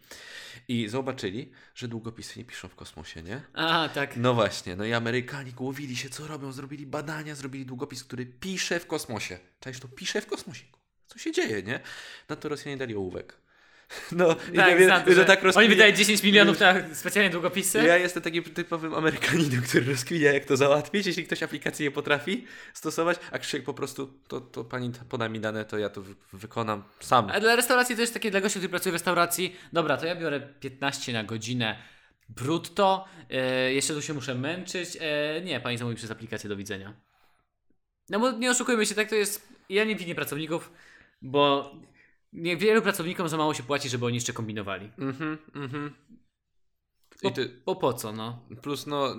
Speaker 2: I zobaczyli, że długopisy nie piszą w kosmosie, nie?
Speaker 1: A, tak.
Speaker 2: No właśnie, no i Amerykanie głowili się, co robią, zrobili badania, zrobili długopis, który pisze w kosmosie. Cześć, to pisze w kosmosie. Co się dzieje, nie? Na to Rosjanie dali ołówek. No, i
Speaker 1: Tak,
Speaker 2: wie-
Speaker 1: znam,
Speaker 2: że
Speaker 1: że
Speaker 2: tak
Speaker 1: Oni
Speaker 2: rozkminie-
Speaker 1: wydaje 10 milionów na specjalnie długopisy.
Speaker 2: Ja jestem takim typowym Amerykaninem, który rozkwinia, jak to załatwić, jeśli ktoś aplikacji nie potrafi stosować, a Krzysiek po prostu, to, to pani poda mi dane, to ja to wy- wykonam sam.
Speaker 1: A dla restauracji to jest takie, dla gości, który pracuje w restauracji, dobra, to ja biorę 15 na godzinę brutto, e, jeszcze tu się muszę męczyć. E, nie, pani zamówi przez aplikację, do widzenia. No bo nie oszukujmy się, tak to jest, ja nie winię pracowników, bo nie, wielu pracownikom za mało się płaci, żeby oni jeszcze kombinowali.
Speaker 2: Mhm, mhm.
Speaker 1: Bo,
Speaker 2: I ty,
Speaker 1: bo po co, no?
Speaker 2: plus no,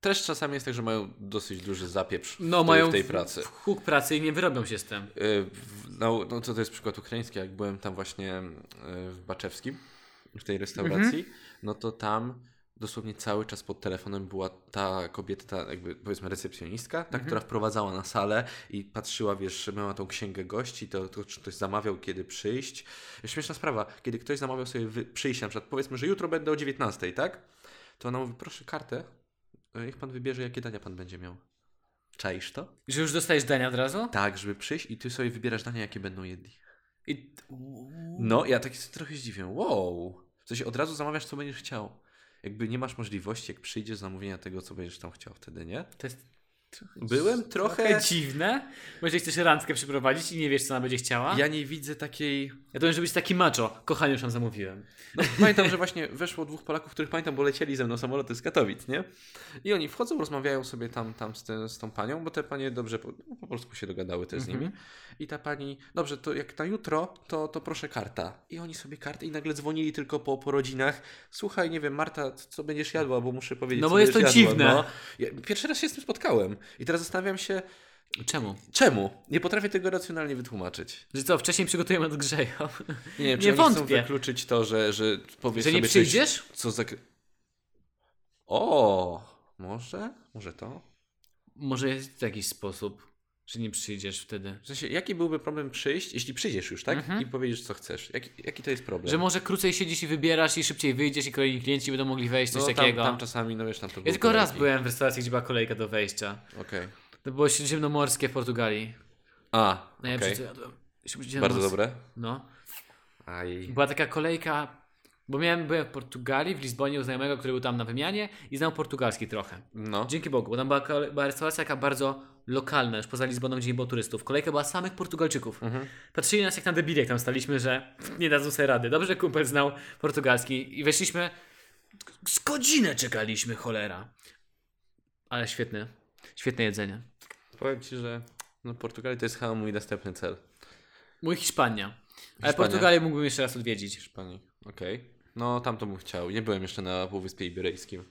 Speaker 2: też czasami jest tak, że mają dosyć duży zapieprz w,
Speaker 1: No
Speaker 2: tej,
Speaker 1: mają
Speaker 2: w tej pracy.
Speaker 1: w huk pracy i nie wyrobią się z tym.
Speaker 2: Y, w- No, no to, to jest przykład ukraiński, jak byłem tam właśnie y, w Baczewskim, w tej restauracji, no to tam dosłownie cały czas pod telefonem była ta kobieta, ta jakby powiedzmy recepcjonistka, ta, która wprowadzała na salę i patrzyła, wiesz, miała tą księgę gości, to, to czy ktoś zamawiał, kiedy przyjść. Śmieszna sprawa, kiedy ktoś zamawiał sobie wy, przyjść, na przykład powiedzmy, że jutro będę o 19, tak? To ona mówi, proszę kartę, y, niech pan wybierze, jakie dania pan będzie miał. Czaisz to?
Speaker 1: Że już dostajesz dania od razu?
Speaker 2: Tak, żeby przyjść i ty sobie wybierasz dania, jakie będą jedli.
Speaker 1: I...
Speaker 2: No, ja tak się trochę zdziwiłem. Wow! W sensie od razu zamawiasz, co będziesz chciał. Jakby nie masz możliwości, jak przyjdziesz, zamówienia tego, co będziesz tam chciał wtedy, nie?
Speaker 1: To jest
Speaker 2: Byłem trochę...
Speaker 1: dziwne, bo jeżeli chcesz randkę przeprowadzić i nie wiesz, co ona będzie chciała. Ja,
Speaker 2: Ja nie widzę takiej...
Speaker 1: to może być taki macho. Kochanie, już tam zamówiłem.
Speaker 2: No, pamiętam, że właśnie weszło dwóch Polaków, których pamiętam, bo lecieli ze mną samoloty z Katowic, nie? I oni wchodzą, rozmawiają sobie tam, tam z, tym- z tą panią, bo te panie dobrze po, no, po polsku się dogadały też z
Speaker 1: Mhm.
Speaker 2: nimi. I ta pani, dobrze, to jak na jutro, to, to proszę karta. I oni sobie kartę i nagle dzwonili tylko po, po rodzinach. Słuchaj, nie wiem, Marta, c- co będziesz jadła, bo muszę powiedzieć,
Speaker 1: No bo
Speaker 2: co
Speaker 1: jest to
Speaker 2: będziesz jadła,
Speaker 1: dziwne.
Speaker 2: No. Ja, pierwszy raz się z tym spotkałem. I teraz zastanawiam się,
Speaker 1: Czemu?
Speaker 2: czemu? Nie potrafię tego racjonalnie wytłumaczyć.
Speaker 1: Że co, wcześniej przygotujemy od grzeją.
Speaker 2: Nie, wiem, czy
Speaker 1: Nie
Speaker 2: oni
Speaker 1: wątpię.
Speaker 2: chcą wykluczyć to, że, że powiesz
Speaker 1: Że nie
Speaker 2: sobie coś-
Speaker 1: przyjdziesz?
Speaker 2: co za... O, może? Może to?
Speaker 1: Może jest w jakiś sposób, że nie przyjdziesz wtedy.
Speaker 2: W sensie, jaki byłby problem przyjść, jeśli przyjdziesz już, tak?
Speaker 1: Mhm.
Speaker 2: I powiedziesz, co chcesz. Jaki, jaki to jest problem?
Speaker 1: Że może krócej siedzisz i wybierasz i szybciej wyjdziesz i kolejni klienci będą mogli wejść, coś
Speaker 2: no, tam,
Speaker 1: takiego.
Speaker 2: tam czasami, no wiesz, tam to
Speaker 1: ja
Speaker 2: było
Speaker 1: tylko raz
Speaker 2: kolejki.
Speaker 1: byłem w restauracji, gdzie była kolejka do wejścia.
Speaker 2: Okej.
Speaker 1: To było śródziemnomorskie w Portugalii.
Speaker 2: A,
Speaker 1: No ja
Speaker 2: okej.
Speaker 1: okay.
Speaker 2: Bardzo dobre.
Speaker 1: No.
Speaker 2: Aj.
Speaker 1: Była taka kolejka, bo miałem, byłem w Portugalii, w Lizbonie u znajomego, który był tam na wymianie i znał portugalski trochę.
Speaker 2: No.
Speaker 1: Dzięki Bogu, bo tam była, kole- była restauracja taka bardzo lokalna, już poza Lizboną, gdzie nie było turystów. Kolejka była samych Portugalczyków. Patrzyli na nas jak na debili, jak tam staliśmy, że nie dadzą sobie rady. Dobrze, że kumpel znał portugalski i weszliśmy, z godzinę czekaliśmy, cholera. Ale świetne, świetne jedzenie.
Speaker 2: Powiem ci, że No Portugalia to jest chyba mój następny cel.
Speaker 1: Mój Hiszpania. Ale
Speaker 2: Hiszpania.
Speaker 1: Portugalię mógłbym jeszcze raz odwiedzić.
Speaker 2: Hiszpanii. Okej. No tam to bym chciał. Nie byłem jeszcze na Półwyspie Iberyjskim.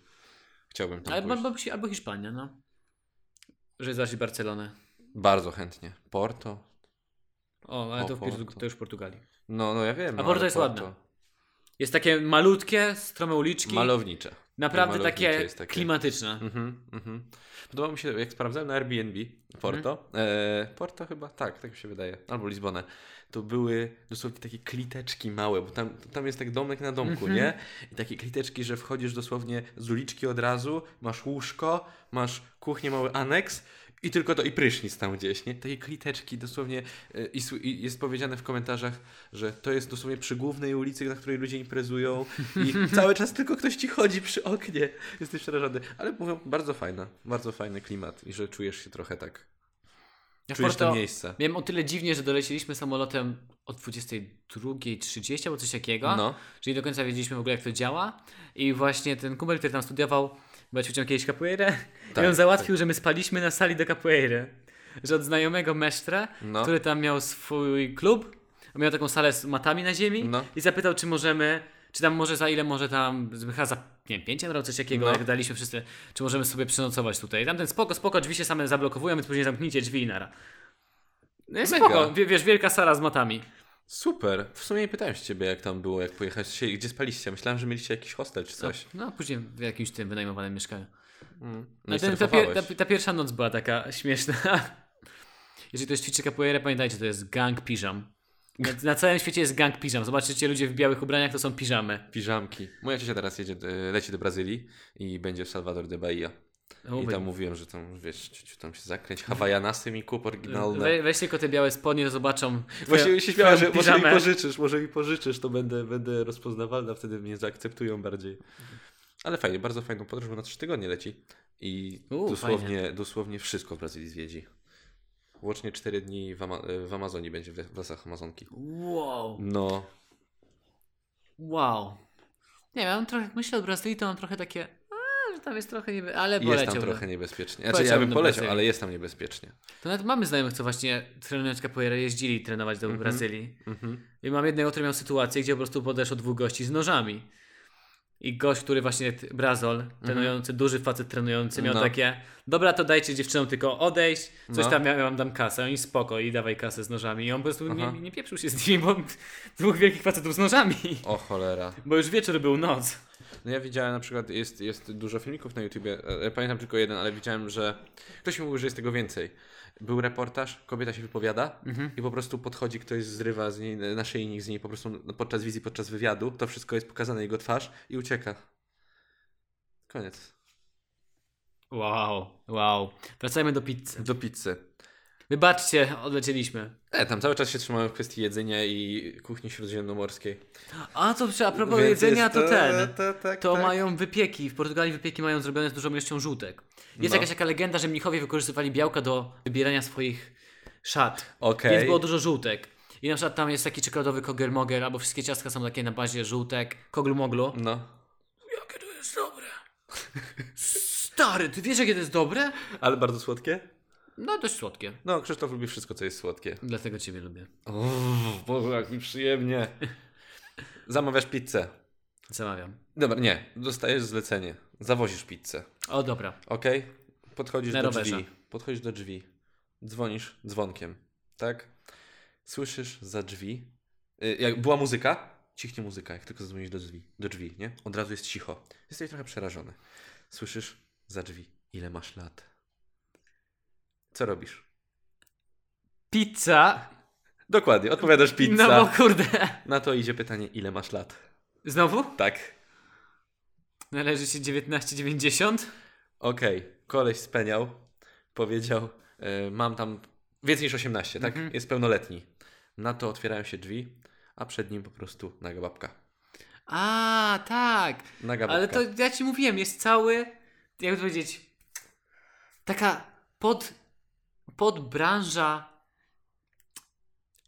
Speaker 2: Chciałbym tam
Speaker 1: Ale
Speaker 2: pójść.
Speaker 1: mam się albo Hiszpania, no. Że zobaczyć Barcelonę.
Speaker 2: Bardzo chętnie. Porto.
Speaker 1: O, ale
Speaker 2: O,
Speaker 1: to, w
Speaker 2: Porto.
Speaker 1: Portu- to już w Portugalii.
Speaker 2: No, no ja wiem.
Speaker 1: A
Speaker 2: no,
Speaker 1: Porto
Speaker 2: ale
Speaker 1: jest ładne. Jest takie malutkie, strome uliczki.
Speaker 2: Malownicze.
Speaker 1: naprawdę
Speaker 2: malownicze
Speaker 1: takie,
Speaker 2: jest takie.
Speaker 1: klimatyczne.
Speaker 2: Mhm, mhm. Podobało mi się, jak sprawdzałem na Airbnb Porto, e, Porto chyba, tak, tak mi się wydaje, albo Lizbonę, to były dosłownie takie kliteczki małe, bo tam, tam jest tak domek na domku, nie? I takie kliteczki, że wchodzisz dosłownie z uliczki od razu, masz łóżko, masz kuchnię, mały aneks i tylko to, i prysznic tam gdzieś, nie? Takie kliteczki dosłownie e, i, sły- i jest powiedziane w komentarzach, że to jest dosłownie przy głównej ulicy, na której ludzie imprezują i cały czas tylko ktoś ci chodzi przy oknie. Jesteś przerażony. Ale mówią, bardzo fajna, bardzo fajny klimat i że czujesz się trochę tak.
Speaker 1: Ja w
Speaker 2: Czujesz to
Speaker 1: Porto
Speaker 2: miejsce.
Speaker 1: miałem o tyle dziwnie, że doleciliśmy samolotem o 22.30 albo coś takiego.
Speaker 2: No.
Speaker 1: Czyli do końca wiedzieliśmy w ogóle, jak to działa. I właśnie ten kumpel, który tam studiował, bo ja ćwiczyłem kiedyś capoeirę,
Speaker 2: Tak,
Speaker 1: i on załatwił, że my spaliśmy na sali do capoeiry. Że od znajomego mesztra,
Speaker 2: No.
Speaker 1: który tam miał swój klub, miał taką salę z matami na ziemi
Speaker 2: No.
Speaker 1: i zapytał, czy możemy, czy tam może za ile może tam, chyba za nie wiem, 5 euro, coś takiego,
Speaker 2: No.
Speaker 1: jak daliśmy wszyscy, czy możemy sobie przenocować tutaj. Tamten spoko, spoko, drzwi się same zablokowują, więc później zamknijcie drzwi i nara. No i
Speaker 2: Mega.
Speaker 1: spoko, wie- wiesz, wielka sala z matami.
Speaker 2: Super. W sumie nie pytałem się ciebie, jak tam było, jak pojechałeś się i gdzie spaliście. Myślałem, że mieliście jakiś hostel czy coś.
Speaker 1: No, a później w jakimś tym wynajmowanym mieszkaniu.
Speaker 2: No i
Speaker 1: A ten, ta, pier,
Speaker 2: surfowałeś.
Speaker 1: ta, ta pierwsza noc była taka śmieszna. Jeżeli ktoś ćwiczy capoeirę, pamiętajcie, to jest gang piżam. Na, na całym świecie jest gang piżam. Zobaczycie ludzie w białych ubraniach, to są piżamy.
Speaker 2: Piżamki. Moja ciocia teraz jedzie, e, leci do Brazylii i będzie w Salvador de Bahia.
Speaker 1: O,
Speaker 2: I
Speaker 1: we-
Speaker 2: tam mówiłem, że tam, wiesz, ciociu, tam się zakręć. Hawajanasy mi kup oryginalne.
Speaker 1: we, weź tylko te białe spodnie, to zobaczą.
Speaker 2: Właśnie
Speaker 1: twoją-
Speaker 2: się śmiałem, że
Speaker 1: twoją
Speaker 2: może mi
Speaker 1: piżamę.
Speaker 2: pożyczysz, może mi pożyczysz, to będę, będę rozpoznawalna, wtedy mnie zaakceptują bardziej. Ale fajnie, bardzo fajną podróż, bo na trzy tygodnie leci i
Speaker 1: U,
Speaker 2: dosłownie, dosłownie wszystko w Brazylii zwiedzi. Łącznie cztery dni w, Ama- e, w Amazonii będzie, w lasach Amazonki.
Speaker 1: Wow,
Speaker 2: No,
Speaker 1: wow. Nie wiem, ja mam trochę, jak myślę o Brazylii, to mam trochę takie, a, że tam jest trochę niby, ale
Speaker 2: jest
Speaker 1: poleciał.
Speaker 2: tam trochę niebezpiecznie. Znaczy, ja
Speaker 1: Poleciałbym
Speaker 2: bym
Speaker 1: do
Speaker 2: poleciał,
Speaker 1: Brazylii.
Speaker 2: ale jest tam niebezpiecznie.
Speaker 1: To nawet mamy znajomych, co właśnie trenując capoeirę jeździli trenować do Brazylii.
Speaker 2: Mhm.
Speaker 1: I mam jednego, który miał sytuację, gdzie po prostu podeszło dwóch gości z nożami. I gość, który właśnie, t- Brazol, trenujący, duży facet trenujący, miał
Speaker 2: No.
Speaker 1: takie, dobra, to dajcie dziewczynom tylko odejść, coś
Speaker 2: No.
Speaker 1: tam, ja wam dam kasę, oni spoko i dawaj kasę z nożami. I on po prostu nie,
Speaker 2: Aha.
Speaker 1: nie pieprzył się z nimi, bo dwóch wielkich facetów z nożami,
Speaker 2: O cholera.
Speaker 1: bo już wieczór był noc.
Speaker 2: No ja widziałem na przykład, jest, jest dużo filmików na YouTubie, e, pamiętam tylko jeden, ale widziałem, że ktoś mi mówił, że jest tego więcej. Był reportaż, kobieta się wypowiada
Speaker 1: Mhm.
Speaker 2: i po prostu podchodzi ktoś, zrywa z niej e, naszyjnik z niej po prostu podczas wizji, podczas wywiadu, to wszystko jest pokazane, jego twarz i ucieka. Koniec.
Speaker 1: Wow, wow. Wracajmy do pizzy.
Speaker 2: Do pizzy.
Speaker 1: Wybaczcie, odlecieliśmy.
Speaker 2: E, tam cały czas się trzymałem w kwestii jedzenia i kuchni śródziemnomorskiej.
Speaker 1: A to przy- a propos
Speaker 2: Więc
Speaker 1: No jedzenia,
Speaker 2: jest
Speaker 1: to ten.
Speaker 2: To, tak,
Speaker 1: To
Speaker 2: tak.
Speaker 1: mają wypieki. W Portugalii wypieki mają zrobione z dużą ilością żółtek. Jest
Speaker 2: No.
Speaker 1: jakaś taka legenda, że mnichowie wykorzystywali białka do wybierania swoich szat.
Speaker 2: Okej.
Speaker 1: Więc było dużo żółtek. I na przykład tam jest taki czekoladowy kogel moger, albo wszystkie ciastka są takie na bazie żółtek, koglu moglu.
Speaker 2: No.
Speaker 1: Jakie to jest dobre! Stary, ty wiesz jakie to jest dobre?
Speaker 2: Ale bardzo słodkie?
Speaker 1: No dość słodkie.
Speaker 2: No, Krzysztof lubi wszystko, co jest słodkie.
Speaker 1: Dlatego ciebie lubię.
Speaker 2: O, Boże, jak mi przyjemnie. Zamawiasz pizzę.
Speaker 1: Zamawiam.
Speaker 2: Dobra, nie, dostajesz zlecenie. Zawozisz pizzę.
Speaker 1: O dobra.
Speaker 2: Okej? Podchodzisz
Speaker 1: Na
Speaker 2: do
Speaker 1: rowerze.
Speaker 2: drzwi. Podchodzisz do drzwi. Dzwonisz dzwonkiem. Tak? Słyszysz za drzwi. y, Jak była muzyka, cichnie muzyka, jak tylko zadzwonisz do drzwi, do drzwi, nie? Od razu jest cicho. Jesteś trochę przerażony. Słyszysz za drzwi, ile masz lat. Co robisz?
Speaker 1: Pizza.
Speaker 2: Dokładnie, odpowiadasz pizza.
Speaker 1: No bo kurde.
Speaker 2: Na to idzie pytanie, ile masz lat.
Speaker 1: Znowu?
Speaker 2: Tak.
Speaker 1: Należy się 1990?
Speaker 2: Okej, koleś speniał, powiedział, y, mam tam więcej niż 18, tak?
Speaker 1: Mhm.
Speaker 2: Jest pełnoletni. Na to otwierają się drzwi, a przed nim po prostu naga babka.
Speaker 1: A, tak.
Speaker 2: Naga babka.
Speaker 1: Ale to ja ci mówiłem, jest cały, jakby to powiedzieć, taka pod, podbranża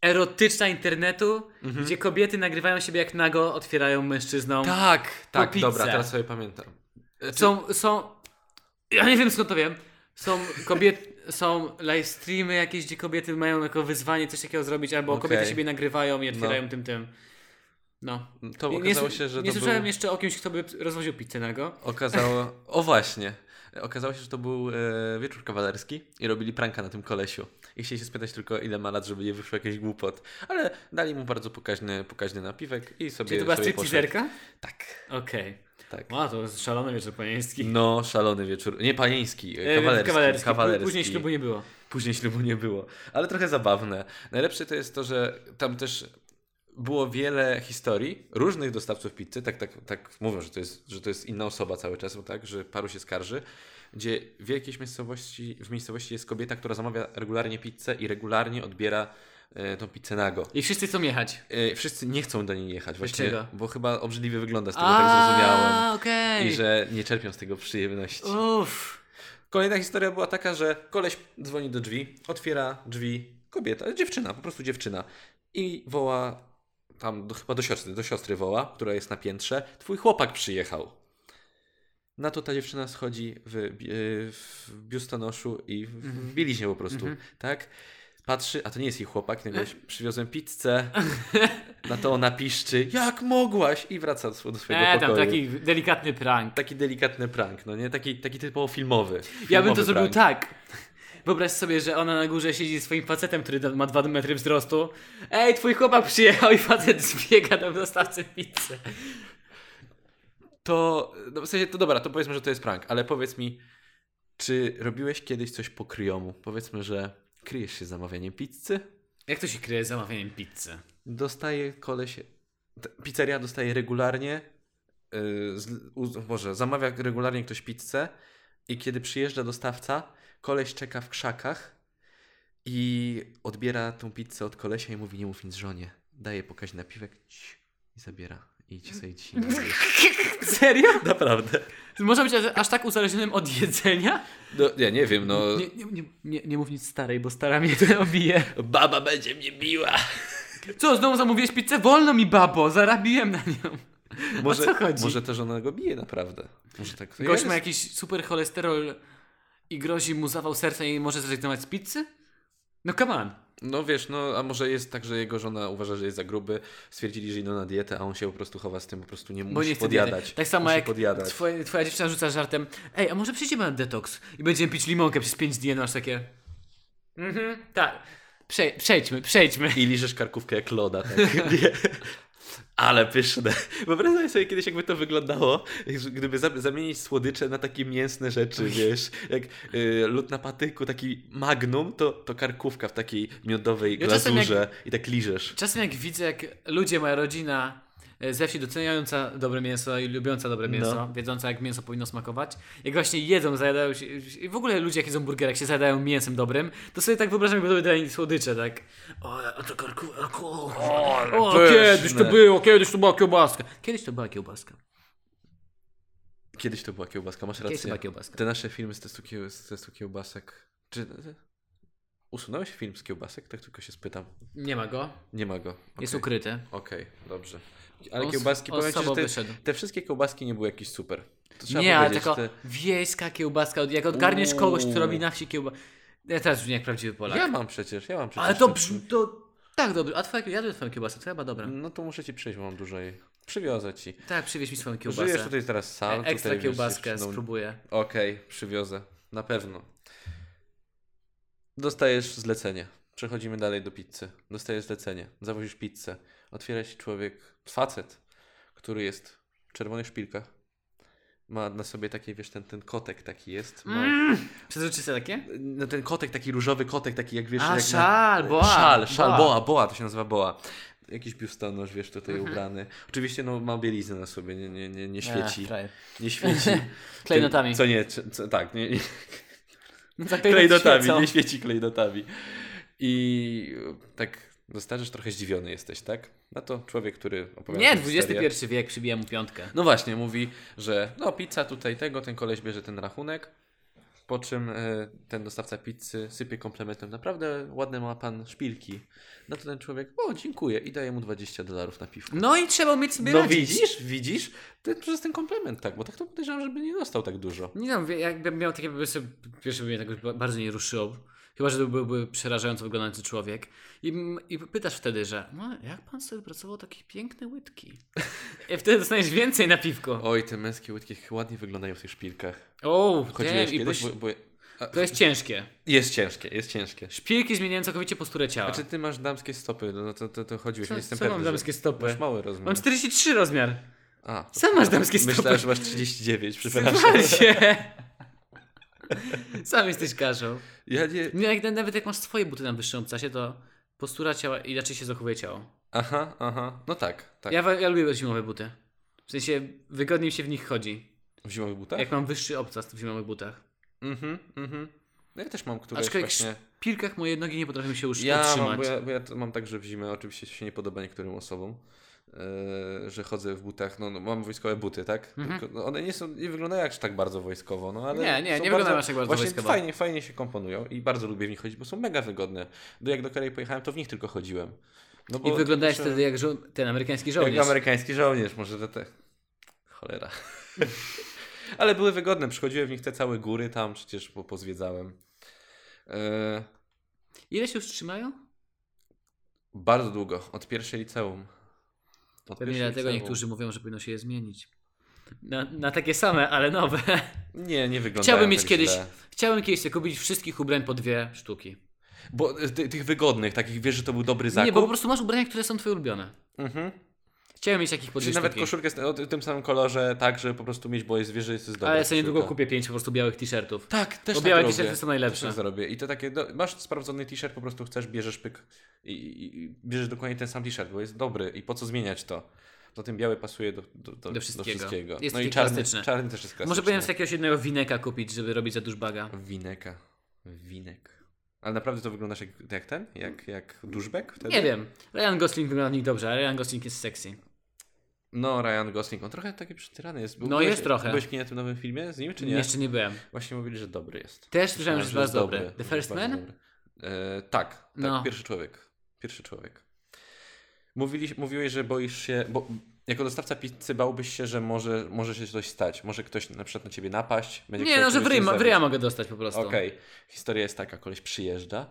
Speaker 1: erotyczna internetu, gdzie kobiety nagrywają siebie jak nago, otwierają mężczyznom.
Speaker 2: Mhm. Tak, tak,
Speaker 1: pizzę.
Speaker 2: dobra, teraz
Speaker 1: Znaczy-
Speaker 2: sobie pamiętam.
Speaker 1: Są, są, ja nie wiem skąd to wiem, są kobiety, są live streamy jakieś, gdzie kobiety mają jako wyzwanie coś takiego zrobić, albo
Speaker 2: Okej.
Speaker 1: kobiety siebie nagrywają i otwierają
Speaker 2: No.
Speaker 1: tym tym. No.
Speaker 2: To
Speaker 1: Nie-
Speaker 2: okazało
Speaker 1: nie,
Speaker 2: się, że
Speaker 1: Nie
Speaker 2: to
Speaker 1: słyszałem
Speaker 2: był...
Speaker 1: jeszcze o kimś, kto by rozwoził pizzę nago.
Speaker 2: Okazało... O właśnie. Okazało się, że to był e, wieczór kawalerski i robili pranka na tym kolesiu. I chcieli się spytać tylko, ile ma lat, żeby nie wyszło jakiś głupot. Ale dali mu bardzo pokaźny, pokaźny napiwek i sobie
Speaker 1: Czyli to była
Speaker 2: sobie poszedł.
Speaker 1: stripteaserka?
Speaker 2: Tak,
Speaker 1: Okej.
Speaker 2: tak.
Speaker 1: Wow, to jest szalony wieczór panieński.
Speaker 2: No, szalony wieczór. Nie panieński, e,
Speaker 1: E,
Speaker 2: kawalerski.
Speaker 1: kawalerski.
Speaker 2: kawalerski.
Speaker 1: Później ślubu nie było.
Speaker 2: Później ślubu nie było. Ale trochę zabawne. Najlepsze to jest to, że tam też było wiele historii różnych dostawców pizzy. Tak, tak, tak mówią, że to, jest, że to jest inna osoba cały czas, bo tak, że paru się skarży. Gdzie w jakiejś miejscowości, w miejscowości jest kobieta, która zamawia regularnie pizzę i regularnie odbiera e, tą pizzę nago.
Speaker 1: I wszyscy chcą jechać.
Speaker 2: E, wszyscy nie chcą do niej jechać właśnie,
Speaker 1: Dlaczego?
Speaker 2: bo chyba obrzydliwie wygląda z tego, tak zrozumiałem.
Speaker 1: okej.
Speaker 2: I że nie czerpią z tego przyjemności.
Speaker 1: Uff.
Speaker 2: Kolejna historia była taka, że koleś dzwoni do drzwi, otwiera drzwi kobieta, dziewczyna, po prostu dziewczyna i woła tam do, chyba do siostry, do siostry woła, która jest na piętrze, twój chłopak przyjechał. Na to ta dziewczyna schodzi w, bi- y, w biustonoszu i w, w bieliźnie po prostu,
Speaker 1: Mhm.
Speaker 2: tak? Patrzy, a to nie jest jej chłopak, no gość, przywiozłem pizzę. Na to ona piszczy, jak mogłaś? I wraca do swojego
Speaker 1: E, tam
Speaker 2: pokoju.
Speaker 1: taki delikatny prank.
Speaker 2: Taki delikatny prank, no nie? Taki, taki typowo filmowy.
Speaker 1: Ja bym
Speaker 2: filmowy
Speaker 1: to zrobił
Speaker 2: prank.
Speaker 1: tak. Wyobraź sobie, że ona na górze siedzi ze swoim facetem, który da- ma 2 metry wzrostu. Ej, twój chłopak przyjechał i facet zbiega do dostawcy pizzy.
Speaker 2: To, no w sensie, to dobra, to powiedzmy, że to jest prank, ale powiedz mi, czy robiłeś kiedyś coś po kryjomu? Powiedzmy, że kryjesz się z zamawianiem pizzy,
Speaker 1: Jak to się kryje z zamawianiem pizzy?
Speaker 2: dostaje koleś, t- pizzeria dostaje regularnie, yy, z, u, Boże, zamawia regularnie ktoś pizzę i kiedy przyjeżdża dostawca, koleś czeka w krzakach i odbiera tą pizzę od kolesia i mówi, nie mów nic żonie, daje pokaźny napiwek cii, i zabiera. I ci sobie ci
Speaker 1: Serio?
Speaker 2: Naprawdę.
Speaker 1: Można być aż tak uzależnionym od jedzenia?
Speaker 2: No, ja nie wiem, no...
Speaker 1: Nie, nie, nie, nie, nie mów nic starej, bo stara mnie to obije.
Speaker 2: Baba będzie mnie biła.
Speaker 1: Co, znowu zamówiłeś pizzę? Wolno mi, babo, zarabiłem na nią.
Speaker 2: Może,
Speaker 1: co chodzi?
Speaker 2: może też ona go bije naprawdę. Może tak. Ja
Speaker 1: Gość ma
Speaker 2: jest-
Speaker 1: jakiś super cholesterol i grozi mu zawał serca i może zrezygnować z pizzy? No come on.
Speaker 2: No wiesz, no a może jest tak, że jego żona uważa, że jest za gruby, stwierdzili, że idą na dietę, a on się po prostu chowa z tym, po prostu nie
Speaker 1: Bo
Speaker 2: musi
Speaker 1: nie chce
Speaker 2: podjadać.
Speaker 1: diety. Tak samo
Speaker 2: musi
Speaker 1: jak
Speaker 2: podjadać.
Speaker 1: Twoja, twoja dziewczyna rzuca żartem Ej, a może przyjdziemy na detoks i będziemy pić limonkę przez 5 dni, a masz takie Mhm, tak. Prze- przejdźmy, przejdźmy.
Speaker 2: I liżesz karkówkę jak loda. Tak. Nie. Ale pyszne. Wyobraź sobie kiedyś, jakby to wyglądało, że gdyby za- zamienić słodycze na takie mięsne rzeczy, wiesz, jak y, lód na patyku, taki magnum, to, to karkówka w takiej miodowej
Speaker 1: Ja czasem jak-
Speaker 2: glazurze i tak liżesz.
Speaker 1: Czasem jak widzę, jak ludzie, moja rodzina e, ze wsi doceniająca dobre mięso i lubiąca dobre
Speaker 2: No.
Speaker 1: mięso, wiedząca jak mięso powinno smakować, jak właśnie jedzą, zajadają się, i w ogóle ludzie jak jedzą burgera, jak się zajadają mięsem dobrym, to sobie tak wyobrażam, jakby to były dla nich słodycze, tak. O, a to karku, a ku- o,
Speaker 2: pyszne.
Speaker 1: kiedyś to było, kiedyś to była kiełbaska. Kiedyś to była kiełbaska.
Speaker 2: Kiedyś to była kiełbaska, masz
Speaker 1: Kiedyś to
Speaker 2: rację.
Speaker 1: była kiełbaska.
Speaker 2: Te nasze filmy z testu, kieł, z testu kiełbasek. Czy usunąłeś film z kiełbasek? Tak tylko się spytam.
Speaker 1: Nie ma go.
Speaker 2: Nie ma go.
Speaker 1: Jest
Speaker 2: Okej.
Speaker 1: ukryty.
Speaker 2: Okej, dobrze. Ale
Speaker 1: On-
Speaker 2: kiełbaski,
Speaker 1: on
Speaker 2: powiem ci,
Speaker 1: słabo
Speaker 2: że te,
Speaker 1: wyszedł.
Speaker 2: te wszystkie kiełbaski nie były jakieś super. To trzeba
Speaker 1: Nie, ale
Speaker 2: powiedzieć,
Speaker 1: tylko
Speaker 2: te-
Speaker 1: wiejska kiełbaska. Jak odgarniesz
Speaker 2: Uuu.
Speaker 1: kogoś, kto robi na wsi kiełbaskę. Ja teraz brzmi jak prawdziwy Polak.
Speaker 2: Ja mam przecież, ja mam przecież.
Speaker 1: Ale to
Speaker 2: te-
Speaker 1: brzmi, to tak dobrze. A twoja, jadłem twoją kiełbasę, to chyba dobra.
Speaker 2: No to muszę ci przyjść, bo mam dużo jej. Przywiozę ci.
Speaker 1: Tak, przywieź mi swoją
Speaker 2: Żyjesz
Speaker 1: kiełbasę.
Speaker 2: tutaj teraz
Speaker 1: E,
Speaker 2: sam.
Speaker 1: Ekstra
Speaker 2: tutaj wiesz, no.
Speaker 1: kiełbaskę,
Speaker 2: dziewczyną-
Speaker 1: spróbuję.
Speaker 2: Okej, przywiozę. Na pewno. Dostajesz zlecenie. Przechodzimy dalej do pizzy. Dostajesz zlecenie. Zawozisz pizzę. Otwiera ci człowiek, facet, który jest w czerwonych szpilkach. Ma na sobie taki, wiesz, ten, ten kotek taki jest. Ma...
Speaker 1: Mm, Przezroczyste takie?
Speaker 2: No, ten kotek, taki różowy kotek, taki jak wiesz...
Speaker 1: A,
Speaker 2: jak
Speaker 1: szal,
Speaker 2: na...
Speaker 1: boa,
Speaker 2: Szal, szal,
Speaker 1: boa.
Speaker 2: boa. boa, to się nazywa boa. Jakiś biustonosz, wiesz, tutaj ubrany. Oczywiście, no, ma bieliznę na sobie, nie, nie, nie, nie
Speaker 1: Mhm.
Speaker 2: świeci.
Speaker 1: Ech, frajer.
Speaker 2: nie świeci.
Speaker 1: Klejnotami.
Speaker 2: Co nie, co, co, tak, nie, nie,
Speaker 1: No tak,
Speaker 2: klejnotami,
Speaker 1: świecą.
Speaker 2: nie świeci klejnotami. I e, tak dostarczysz, trochę zdziwiony jesteś, tak? Na to człowiek, który opowiada
Speaker 1: Nie,
Speaker 2: tę historię-
Speaker 1: XXI wiek, przybija mu piątkę.
Speaker 2: No właśnie, mówi, że no pizza tutaj tego, ten koleś bierze ten rachunek, Po czym e, ten dostawca pizzy sypie komplementem. Naprawdę ładne ma pan szpilki. No to ten człowiek, o dziękuję i daje mu 20 dolarów na piwko.
Speaker 1: No i trzeba umieć sobie
Speaker 2: No
Speaker 1: radzić.
Speaker 2: widzisz, widzisz? Ten, przez ten komplement tak, bo tak to podejrzewam, żeby nie dostał tak dużo.
Speaker 1: Nie no, wie- jakbym miał takie pomysły, pierwsze by mnie tak ba- bardzo nie ruszyło. Chyba, że to byłby przerażająco wyglądający człowiek. I, m- I pytasz wtedy, że no, jak pan sobie pracował takie piękne łydki? I wtedy dostaniesz więcej na piwko.
Speaker 2: Oj, te męskie łydki ładnie wyglądają w tych szpilkach.
Speaker 1: O, nie,
Speaker 2: Chodziłeś
Speaker 1: i
Speaker 2: kiedyś?
Speaker 1: poś...
Speaker 2: Bo, bo...
Speaker 1: To jest ciężkie.
Speaker 2: Jest ciężkie, jest ciężkie.
Speaker 1: Szpilki zmieniają całkowicie posturę ciała.
Speaker 2: Znaczy ty masz damskie stopy, no to, to, to chodziłeś,
Speaker 1: Co-
Speaker 2: nie jestem
Speaker 1: co
Speaker 2: pewny.
Speaker 1: mam
Speaker 2: że-
Speaker 1: damskie stopy?
Speaker 2: Masz mały rozmiar.
Speaker 1: Mam 43 rozmiar.
Speaker 2: A, to-
Speaker 1: Sam masz damskie stopy.
Speaker 2: Myślałem, że masz 39, przepraszam.
Speaker 1: Słuchajcie. Sam jesteś karzą.
Speaker 2: Ja nie...
Speaker 1: Nie, jak, nawet jak masz swoje buty na wyższym obcasie, to postura ciała inaczej się zachowuje ciało.
Speaker 2: Aha, aha. No tak, tak.
Speaker 1: Ja, wa- ja lubię zimowe buty. W sensie wygodniej mi się w nich chodzi.
Speaker 2: W zimowych butach?
Speaker 1: Jak mam wyższy obcas w zimowych butach.
Speaker 2: Mhm, mhm. No ja też mam któreś
Speaker 1: Aczkolwiek
Speaker 2: właśnie...
Speaker 1: w szpilkach moje nogi nie potrafią się już
Speaker 2: Ja mam,
Speaker 1: utrzymać.
Speaker 2: bo ja, bo ja to mam tak, że w zimę oczywiście się nie podoba niektórym osobom, e, że chodzę w butach, no, no mam wojskowe buty, tak? Tylko, no, one nie są, nie wyglądają aż tak bardzo wojskowo, no ale...
Speaker 1: Mhm. Nie, nie,
Speaker 2: są
Speaker 1: nie wyglądają aż tak bardzo
Speaker 2: właśnie
Speaker 1: wojskowo.
Speaker 2: Fajnie, fajnie się komponują i bardzo lubię w nich chodzić, bo są mega wygodne. Do jak do Korei pojechałem, to w nich tylko chodziłem. No,
Speaker 1: I wyglądałeś
Speaker 2: że-
Speaker 1: wtedy jak żo- ten amerykański
Speaker 2: jak
Speaker 1: żołnierz.
Speaker 2: amerykański żołnierz, może to te... Cholera. Ale były wygodne, przychodziłem w nich te całe góry tam, przecież po, pozwiedzałem. E,
Speaker 1: Ile się już trzymają?
Speaker 2: bardzo długo, od pierwszej liceum. Od
Speaker 1: Pewnie
Speaker 2: pierwszej
Speaker 1: dlatego
Speaker 2: liceum.
Speaker 1: niektórzy mówią, że powinno się je zmienić. Na, na takie same, ale nowe.
Speaker 2: Nie, nie wyglądają
Speaker 1: Chciałbym mieć
Speaker 2: tak
Speaker 1: kiedyś,
Speaker 2: Źle.
Speaker 1: chciałbym kiedyś sobie kupić wszystkich ubrań po dwie sztuki.
Speaker 2: Bo y, ty, tych wygodnych, takich, wiesz, że to był dobry zakup.
Speaker 1: Nie, bo po prostu masz ubrania, które są twoje ulubione.
Speaker 2: Mhm.
Speaker 1: Chciałem mieć takich po dwie
Speaker 2: Czyli nawet
Speaker 1: sztuki.
Speaker 2: koszulkę z- o ty- tym samym kolorze, tak, żeby po prostu mieć, bo jest wiesz, że jest dobra
Speaker 1: Ale ja sobie
Speaker 2: koszulka.
Speaker 1: niedługo kupię pięć po prostu białych t-shirtów.
Speaker 2: Tak, też
Speaker 1: Bo
Speaker 2: tak
Speaker 1: białe
Speaker 2: robię.
Speaker 1: t-shirty są
Speaker 2: Też tak
Speaker 1: najlepsze.
Speaker 2: zrobię. I to takie, do, masz sprawdzony t-shirt, po prostu chcesz, bierzesz pyk i, i, i bierzesz dokładnie ten sam t-shirt, bo jest dobry i po co zmieniać to? Zatem biały pasuje do, do, do,
Speaker 1: Do wszystkiego. Jest
Speaker 2: Jest no i
Speaker 1: taki
Speaker 2: czarny,
Speaker 1: klasyczny.
Speaker 2: czarny też jest klasyczny.
Speaker 1: Może powinienem z jakiegoś jednego wineka kupić, żeby robić za duszbaga.
Speaker 2: Wineka. Winek. Ale naprawdę to wyglądasz jak, jak ten? Jak, jak duszbek wtedy?
Speaker 1: Nie wiem. Ryan Gosling wygląda w nich dobrze, ale Ryan Gosling jest sexy.
Speaker 2: No, Ryan Gosling, on trochę taki przytyrany jest. Był-
Speaker 1: No,
Speaker 2: byłeś-
Speaker 1: jest trochę.
Speaker 2: Byłeś kiedyś na tym nowym filmie z nim, czy nie?
Speaker 1: Jeszcze nie byłem.
Speaker 2: Właśnie mówili, że dobry jest.
Speaker 1: Też słyszałem, że jest bardzo dobry. The
Speaker 2: że
Speaker 1: First
Speaker 2: bardzo
Speaker 1: Man?
Speaker 2: dobry. E, tak, tak
Speaker 1: No.
Speaker 2: pierwszy człowiek. Pierwszy człowiek. Mówili, mówiłeś, że boisz się, bo jako dostawca pizzy bałbyś się, że może, może się coś stać. Może ktoś na przykład na ciebie napaść. Będzie
Speaker 1: Nie,
Speaker 2: chciał
Speaker 1: no że w
Speaker 2: kogoś
Speaker 1: ryja, w
Speaker 2: zabić.
Speaker 1: ryja mogę dostać po prostu.
Speaker 2: Okej, historia jest taka, koleś przyjeżdża,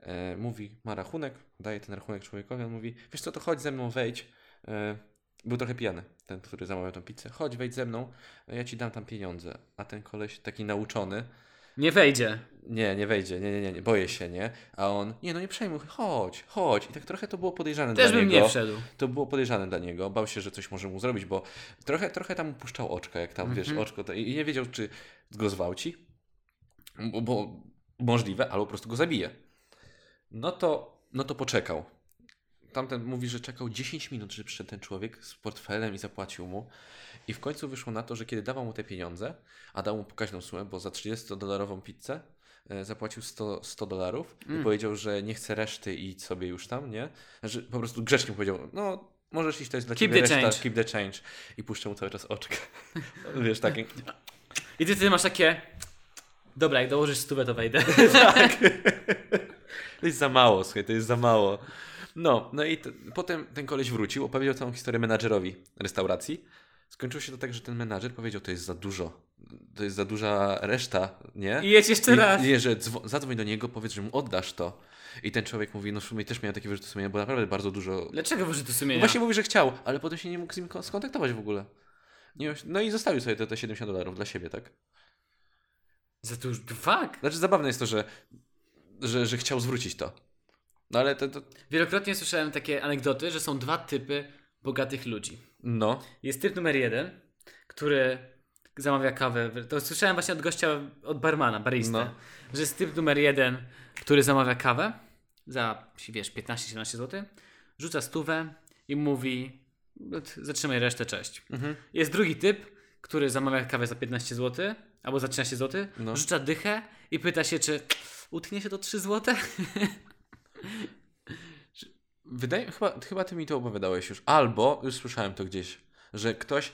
Speaker 2: e, mówi, ma rachunek, daje ten rachunek człowiekowi, on mówi, wiesz co, to chodź ze mną, wejdź. E, był trochę pijany, ten, który zamawiał tą pizzę. Chodź, wejdź ze mną, ja ci dam tam pieniądze. A ten koleś taki nauczony,
Speaker 1: Nie wejdzie.
Speaker 2: nie, nie wejdzie, nie, nie, nie, nie, boję się, nie. A on, nie, no nie przejmuj, chodź, chodź. I tak trochę to było podejrzane
Speaker 1: Też
Speaker 2: dla
Speaker 1: bym
Speaker 2: niego.
Speaker 1: nie wszedł.
Speaker 2: To było podejrzane dla niego, bał się, że coś może mu zrobić, bo trochę, trochę tam puszczał oczka, jak tam, wiesz,
Speaker 1: Mhm.
Speaker 2: oczko, to, i nie wiedział, czy go zwałci, bo, bo możliwe, albo po prostu go zabije. No to, no to poczekał. Tamten mówi, że czekał 10 minut, że przyszedł ten człowiek z portfelem i zapłacił mu. I w końcu wyszło na to, że kiedy dawał mu te pieniądze, a dał mu pokaźną sumę, bo za 30-dolarową pizzę e, zapłacił 100 100 dolarów i
Speaker 1: Mm.
Speaker 2: powiedział, że nie chce reszty i idź sobie już tam, nie? Znaczy po prostu grzecznie mu powiedział, no możesz iść, to jest dla
Speaker 1: Keep
Speaker 2: ciebie
Speaker 1: the
Speaker 2: reszta,
Speaker 1: change.
Speaker 2: keep the change. I puszczał mu cały czas oczka. Wiesz, takie...
Speaker 1: I ty, ty masz takie... Dobra, jak dołożysz stówę, to wejdę.
Speaker 2: Tak. To jest za mało, słuchaj, to jest za mało. No, no i t- potem ten koleś wrócił, opowiedział całą historię menadżerowi restauracji. Skończyło się to tak, że ten menadżer powiedział, to jest za dużo. To jest za duża reszta, nie?
Speaker 1: I jedź jeszcze raz.
Speaker 2: I, nie, że dzwo- zadzwoń do niego, powiedz, że mu oddasz to. I ten człowiek mówi, no w sumie też miałem takie wyrzuty sumienia, bo naprawdę bardzo dużo... No
Speaker 1: Dlaczego wyrzuty sumienia?
Speaker 2: Właśnie mówi, że chciał, ale potem się nie mógł z nim kon- skontaktować w ogóle. Nie, miał- no i zostawił sobie te, te 70 dolarów dla siebie, tak?
Speaker 1: Za to już... Fuck.
Speaker 2: Znaczy zabawne jest to, że, że, że chciał zwrócić to. No ale to... to
Speaker 1: Wielokrotnie słyszałem takie anegdoty, że są dwa typy bogatych ludzi.
Speaker 2: no.
Speaker 1: Jest typ numer jeden, który zamawia kawę. w- To słyszałem właśnie od gościa, od barmana, barista,
Speaker 2: No.
Speaker 1: że jest typ numer jeden, który zamawia kawę za, wiesz, 15-17 zł, rzuca stówę i mówi "No zatrzymaj resztę, cześć.
Speaker 2: Mhm.
Speaker 1: Jest drugi typ, który zamawia kawę za 15 zł albo za 13 zł,
Speaker 2: No.
Speaker 1: rzuca dychę i pyta się, czy utchnie się to 3 zł?
Speaker 2: Wydaje chyba, chyba ty mi to opowiadałeś już. Albo już słyszałem to gdzieś, że ktoś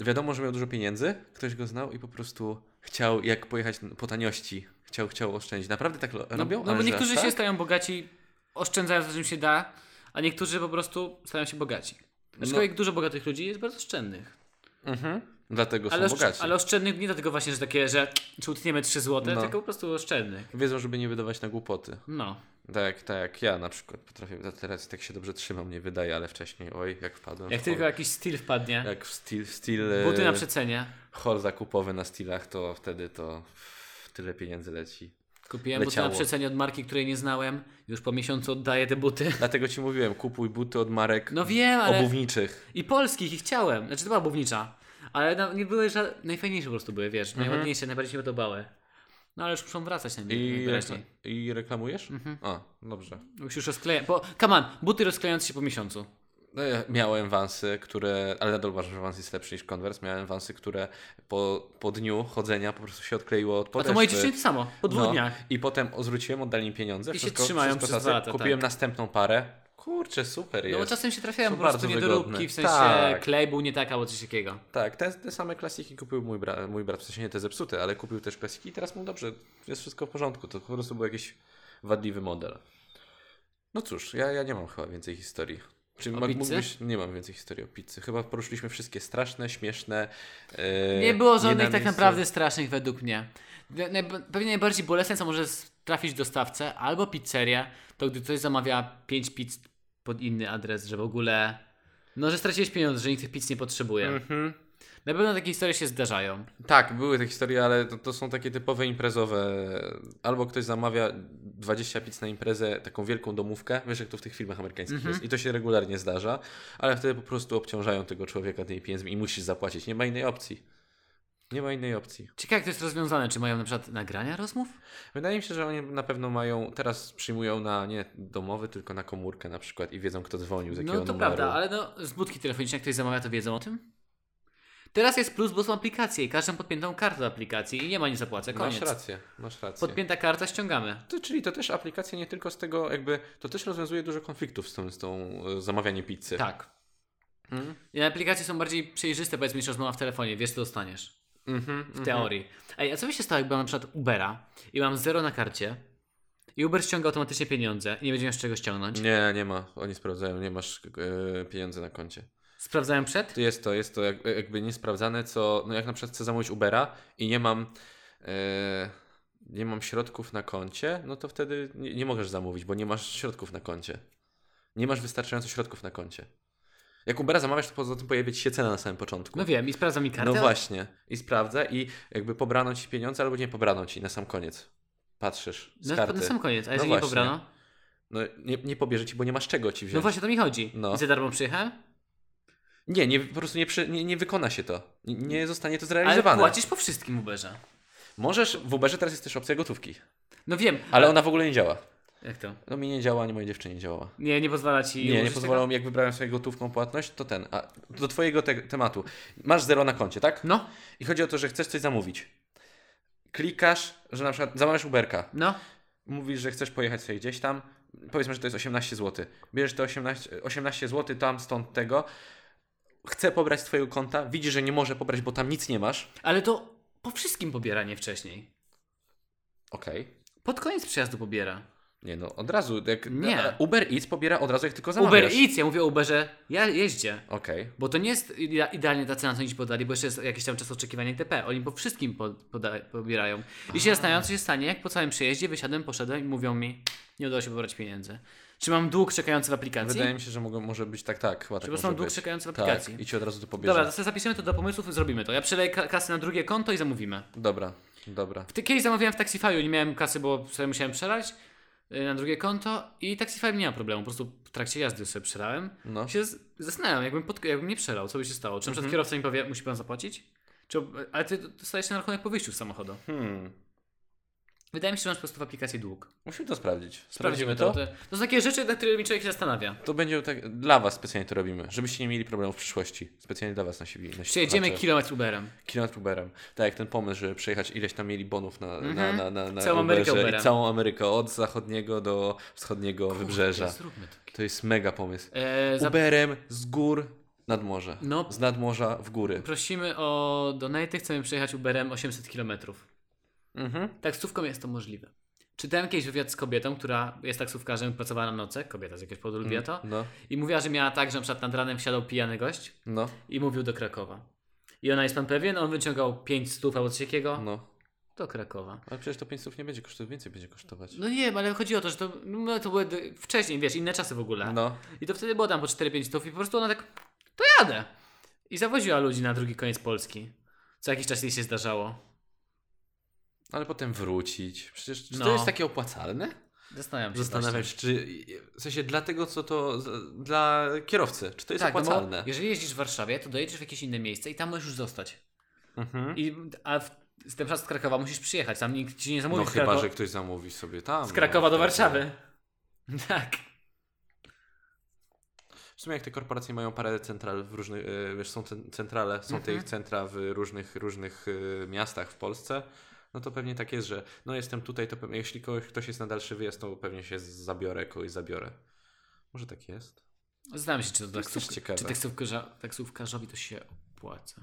Speaker 2: wiadomo, że miał dużo pieniędzy, ktoś go znał i po prostu chciał, jak pojechać po taniości, chciał, chciał oszczędzić. Naprawdę tak lo-
Speaker 1: No,
Speaker 2: robią?
Speaker 1: no bo
Speaker 2: Ale że
Speaker 1: niektórzy
Speaker 2: aż
Speaker 1: się
Speaker 2: tak?
Speaker 1: stają bogaci, oszczędzając, na czym się da, a niektórzy po prostu stają się bogaci.
Speaker 2: No.
Speaker 1: Aczkolwiek dużo bogatych ludzi jest bardzo oszczędnych.
Speaker 2: Mhm. Dlatego
Speaker 1: Ale,
Speaker 2: są
Speaker 1: oszcz-
Speaker 2: bogaci.
Speaker 1: ale oszczędnych nie dlatego właśnie, że takie, że czy utniemy 3 złote,
Speaker 2: No.
Speaker 1: tylko po prostu oszczędnych.
Speaker 2: Wiedzą, żeby nie wydawać na głupoty.
Speaker 1: No.
Speaker 2: Tak, tak, jak ja na przykład potrafię, za- teraz tak się dobrze trzymam, nie wydaje, ale wcześniej, oj, jak wpadłem.
Speaker 1: Jak
Speaker 2: w
Speaker 1: tylko
Speaker 2: hol.
Speaker 1: jakiś styl wpadnie,
Speaker 2: jak w styl, styl e,
Speaker 1: buty na przecenie.
Speaker 2: hol zakupowy na stylach, to wtedy to tyle pieniędzy leci.
Speaker 1: Kupiłem
Speaker 2: leciało.
Speaker 1: buty na przecenie od marki, której nie znałem. Już po miesiącu oddaję te buty.
Speaker 2: Dlatego ci mówiłem, kupuj buty od marek
Speaker 1: No wiem, ale
Speaker 2: obuwniczych.
Speaker 1: i polskich i chciałem. Znaczy to była bubnicza. Ale no, nie były żadne... Najfajniejsze po prostu były, wiesz.
Speaker 2: Mhm.
Speaker 1: Najładniejsze, najbardziej mi się podobały. No ale już muszą wracać na
Speaker 2: I,
Speaker 1: najwyraźniej.
Speaker 2: rekla- I reklamujesz? A, dobrze.
Speaker 1: Już już rozklejam. Bo, come on, buty rozklejające się po miesiącu.
Speaker 2: No, ja miałem wansy, które, ale nadal uważam, że wans jest lepszy niż Converse. Miałem wansy, które po, po dniu chodzenia po prostu się odkleiło od
Speaker 1: A
Speaker 2: podeszwy.
Speaker 1: to moje dziewczyny to samo, po dwóch
Speaker 2: No,
Speaker 1: dniach.
Speaker 2: I potem zwróciłem, oddali mi pieniądze.
Speaker 1: I się
Speaker 2: wszystko-
Speaker 1: trzymają
Speaker 2: wszystko
Speaker 1: przez
Speaker 2: tacy.
Speaker 1: dwa lata, tak.
Speaker 2: Kupiłem następną parę. Kurczę, super
Speaker 1: No
Speaker 2: jest.
Speaker 1: bo czasem się trafiają
Speaker 2: Są
Speaker 1: po prostu
Speaker 2: bardzo
Speaker 1: niedoróbki,
Speaker 2: wygodne.
Speaker 1: w sensie
Speaker 2: Tak.
Speaker 1: klej był nie tak albo coś takiego.
Speaker 2: Tak, te, te same klasiki kupił mój, bra- mój brat, w sensie nie te zepsute, ale kupił też klasiki i teraz mu dobrze, jest wszystko w porządku, to po prostu był jakiś wadliwy model. No cóż, ja, ja nie mam chyba więcej historii. Czy
Speaker 1: O
Speaker 2: ma-
Speaker 1: pizzy?
Speaker 2: mógłbyś... Nie mam więcej historii o pizzy. Chyba poruszyliśmy wszystkie straszne, śmieszne. e,
Speaker 1: Nie było żadnych
Speaker 2: na
Speaker 1: tak
Speaker 2: miejscu.
Speaker 1: naprawdę strasznych według mnie. Naj- Pewnie najbardziej bolesne, co może trafić dostawcę albo pizzerię, to gdy ktoś zamawia 5 pizz pod inny adres, że w ogóle... No, że straciłeś pieniądze, że nikt tych pizz nie potrzebuje.
Speaker 2: Mhm.
Speaker 1: Na pewno takie historie się zdarzają.
Speaker 2: Tak, były te historie, ale to, to są takie typowe imprezowe. Albo ktoś zamawia 20 pizz na imprezę, taką wielką domówkę, wiesz jak to w tych filmach amerykańskich
Speaker 1: Mhm.
Speaker 2: jest. I to się regularnie zdarza, ale wtedy po prostu obciążają tego człowieka tymi pieniędzmi i musisz zapłacić. Nie ma innej opcji. Nie ma innej opcji.
Speaker 1: Ciekawe, jak to jest rozwiązane. Czy mają na przykład nagrania rozmów?
Speaker 2: Wydaje mi się, że oni na pewno mają, teraz przyjmują na nie domowy, tylko na komórkę na przykład i wiedzą kto dzwonił, z
Speaker 1: No
Speaker 2: jakiego
Speaker 1: to
Speaker 2: numeru.
Speaker 1: prawda, ale no, z budki telefonicznej, jak ktoś zamawia, to wiedzą o tym? Teraz jest plus, bo są aplikacje i każdą podpiętą kartę do aplikacji i nie ma nie zapłacę,
Speaker 2: Masz
Speaker 1: koniec.
Speaker 2: rację, masz rację.
Speaker 1: Podpięta karta, ściągamy.
Speaker 2: To, czyli to też aplikacja nie tylko z tego jakby, to też rozwiązuje dużo konfliktów z tą, z tą e, zamawianiem pizzy.
Speaker 1: Tak.
Speaker 2: Mhm.
Speaker 1: I aplikacje są bardziej przejrzyste, powiedzmy, niż rozmowa w telefonie, wiesz co dostaniesz.
Speaker 2: Mhm,
Speaker 1: W teorii. Ej, a co by się stało, jakby mam na przykład Ubera i mam zero na karcie i Uber ściąga automatycznie pieniądze i nie będziemy z czego ściągnąć.
Speaker 2: Nie, nie ma. Oni sprawdzają, nie masz e, pieniędzy na koncie.
Speaker 1: Sprawdzałem przed?
Speaker 2: To Jest to, jest to jak, e, jakby niesprawdzane, co. No jak na przykład chcę zamówić Ubera i nie mam. e, nie mam środków na koncie, no to wtedy nie, nie możesz zamówić, bo nie masz środków na koncie. Nie masz wystarczająco środków na koncie. Jak Ubera zamawiasz, to poza tym pojawia ci się cena na samym początku.
Speaker 1: No wiem, i sprawdza mi kartę.
Speaker 2: No właśnie. I sprawdza i jakby pobrano ci pieniądze albo nie pobrano ci na sam koniec. Patrzysz z
Speaker 1: Na,
Speaker 2: karty.
Speaker 1: na sam No, koniec, a jeżeli nie
Speaker 2: właśnie.
Speaker 1: pobrano?
Speaker 2: No nie, nie pobierze ci, bo nie masz czego ci wziąć.
Speaker 1: No właśnie, o to mi chodzi.
Speaker 2: No.
Speaker 1: I za darmo przyjechałem?
Speaker 2: Nie, nie, po prostu nie, przy, nie, nie wykona się to. Nie, nie zostanie to
Speaker 1: Mm. Ale
Speaker 2: zrealizowane.
Speaker 1: płacisz po wszystkim Uberze.
Speaker 2: Możesz, w Uberze teraz jest też opcja gotówki,
Speaker 1: No wiem.
Speaker 2: ale ona w ogóle nie działa.
Speaker 1: Jak to?
Speaker 2: No mi nie działa, ani mojej dziewczynie nie działała.
Speaker 1: Nie, nie pozwala ci.
Speaker 2: Nie, nie
Speaker 1: użyć
Speaker 2: pozwolą
Speaker 1: tego?
Speaker 2: mi, jak wybrałem sobie gotówką płatność, to ten. A do twojego te tematu. Masz zero na koncie, tak?
Speaker 1: No,
Speaker 2: I chodzi o to, że chcesz coś zamówić. Klikasz, że na przykład zamawiasz Uberka.
Speaker 1: no.
Speaker 2: mówisz, że chcesz pojechać sobie gdzieś tam, powiedzmy, że to jest 18 zł. Bierzesz te 18, 18 zł tam, stąd tego, chce pobrać z twojego konta, widzisz, że nie może pobrać, bo tam nic nie masz.
Speaker 1: Ale to po wszystkim pobiera nie wcześniej.
Speaker 2: Okej.
Speaker 1: Pod koniec przyjazdu pobiera.
Speaker 2: Nie no, od razu, jak
Speaker 1: Nie.
Speaker 2: a Uber Eats pobiera od razu, jak tylko
Speaker 1: Uber
Speaker 2: zamawiasz.
Speaker 1: Eats, ja mówię o Uberze, ja jeździe.
Speaker 2: Okej.
Speaker 1: Bo to nie jest ide- idealnie ta cena, co oni ci podali, bo jeszcze jest jakiś tam czas oczekiwania itp. Oni po wszystkim po, poda, pobierają. I się zastanawiam, co się stanie, jak po całym przejeździe wysiadłem, poszedłem i mówią mi, nie udało się pobrać pieniędzy. Czy mam dług czekający w aplikacji?
Speaker 2: Wydaje mi się, że mogą, może być tak, tak,
Speaker 1: Czy
Speaker 2: chyba
Speaker 1: po
Speaker 2: tak
Speaker 1: prostu
Speaker 2: może
Speaker 1: mam dług
Speaker 2: być.
Speaker 1: czekający w
Speaker 2: Tak,
Speaker 1: aplikacji?
Speaker 2: i ci od razu to pobierze.
Speaker 1: Dobra,
Speaker 2: Dobra,
Speaker 1: to sobie zapiszemy to do pomysłów i zrobimy to. Ja przeleję ka- kasę na drugie konto i zamówimy.
Speaker 2: dobra. dobra.
Speaker 1: Ty- Kiedyś zamawiałem w Taxify'u, nie miałem kasy, bo sobie musiałem przelać y, na drugie konto i Taxify nie ma problemu, po prostu w trakcie jazdy sobie przelałem.
Speaker 2: No.
Speaker 1: Się z- zastanawiam, jakbym, pod, jakbym nie przelał, co by się stało. Czy na przykład kierowca mi powie, musi pan zapłacić? Czy, ob- ale ty dostajesz na rachunek po wyjściu z samochodu.
Speaker 2: Hmm.
Speaker 1: Wydaje mi się, że masz po prostu w aplikacji dług.
Speaker 2: Musimy to sprawdzić.
Speaker 1: Sprawdzimy to. To, to są takie rzeczy, nad którymi człowiek się zastanawia.
Speaker 2: To będzie tak, dla was specjalnie to robimy, żebyście nie mieli problemów w przyszłości. Specjalnie dla was nasi nasi
Speaker 1: Przejedziemy
Speaker 2: słuchacze.
Speaker 1: kilometr Uberem.
Speaker 2: Kilometr Uberem. Tak, jak ten pomysł, żeby przejechać ileś tam mieli bonów na, na, na, na, na
Speaker 1: Mhm. Całą Amerykę
Speaker 2: Uberze
Speaker 1: Uberem.
Speaker 2: I całą Amerykę, od zachodniego do wschodniego wybrzeża.
Speaker 1: Zróbmy to.
Speaker 2: To jest mega pomysł.
Speaker 1: E, za-
Speaker 2: Uberem z gór Nad morze.
Speaker 1: No.
Speaker 2: Z nadmorza w góry.
Speaker 1: Prosimy o donaty, chcemy przejechać Uberem 800 km.
Speaker 2: Mhm.
Speaker 1: Taksówką jest to możliwe. Czytałem kiedyś wywiad z kobietą, która jest taksówkarzem, pracowała na noce, kobieta z jakiegoś powodu lubiła to,
Speaker 2: No,
Speaker 1: i mówiła, że miała tak, że na przykład nad ranem wsiadał pijany gość
Speaker 2: no,
Speaker 1: i mówił do Krakowa. I ona jest pan pewien, on wyciągał 5 stów albo coś takiego
Speaker 2: no.
Speaker 1: do Krakowa.
Speaker 2: Ale przecież to 500 nie będzie kosztować, więcej będzie kosztować.
Speaker 1: No nie wiem, ale chodzi o to, że to, no, to były d- wcześniej, wiesz, inne czasy w ogóle.
Speaker 2: No.
Speaker 1: I to wtedy było tam po 4-5 stów i po prostu ona tak, to jadę. I zawoziła ludzi na drugi koniec Polski. Co jakiś czas jej się zdarzało.
Speaker 2: Ale potem wrócić. Przecież czy
Speaker 1: No.
Speaker 2: to jest takie opłacalne?
Speaker 1: Zastanawiam się.
Speaker 2: Zastanawiam się, czy w sensie dla tego, co to z- dla kierowcy, czy to jest
Speaker 1: Tak, no bo
Speaker 2: opłacalne?
Speaker 1: jeżeli jeździsz w Warszawie, to dojedziesz w jakieś inne miejsce i tam możesz już zostać.
Speaker 2: Mhm.
Speaker 1: I, a w, z tym z Krakowa musisz przyjechać, tam nikt ci nie zamówi
Speaker 2: No
Speaker 1: z,
Speaker 2: chyba,
Speaker 1: Krako-
Speaker 2: że ktoś zamówi sobie tam.
Speaker 1: z Krakowa
Speaker 2: no,
Speaker 1: do
Speaker 2: wtedy.
Speaker 1: Warszawy. Tak.
Speaker 2: W sumie jak te korporacje mają parę central w różnych, e, wiesz, są cen- centrale, są
Speaker 1: Mhm.
Speaker 2: te ich centra w różnych, różnych e, miastach w Polsce, no to pewnie tak jest, że no jestem tutaj, to pewnie, jeśli kogoś, ktoś jest na dalszy wyjazd, to pewnie się zabiorę, kogoś zabiorę. Może tak jest?
Speaker 1: Znam się, czy to
Speaker 2: jest też
Speaker 1: taksówka,
Speaker 2: ciekawe.
Speaker 1: czy taksówkarza, taksówkarzowi to się opłaca.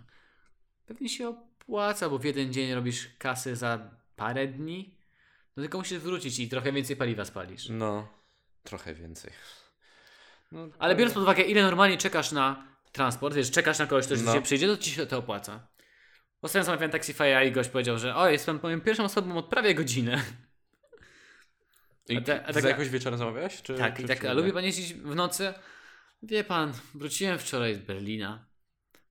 Speaker 1: Pewnie się opłaca, bo w jeden dzień robisz kasy za parę dni, no tylko musisz wrócić i trochę więcej paliwa spalisz.
Speaker 2: No, trochę więcej. No,
Speaker 1: Ale biorąc pod uwagę, ile normalnie czekasz na transport, wiesz, czekasz na kogoś, kto no.
Speaker 2: No.
Speaker 1: się przyjdzie, to ci się to opłaca. Ostatnio zamawiałem taxify'a i gość powiedział, że o, jestem moją pierwszą osobą od prawie godziny.
Speaker 2: I
Speaker 1: A te- a
Speaker 2: za
Speaker 1: tak-
Speaker 2: jakoś wieczorem zamawiałeś? Czy,
Speaker 1: tak,
Speaker 2: czy
Speaker 1: i tak, a
Speaker 2: czy nie?
Speaker 1: lubi pan jeździć w nocy? Wie pan, wróciłem wczoraj z Berlina.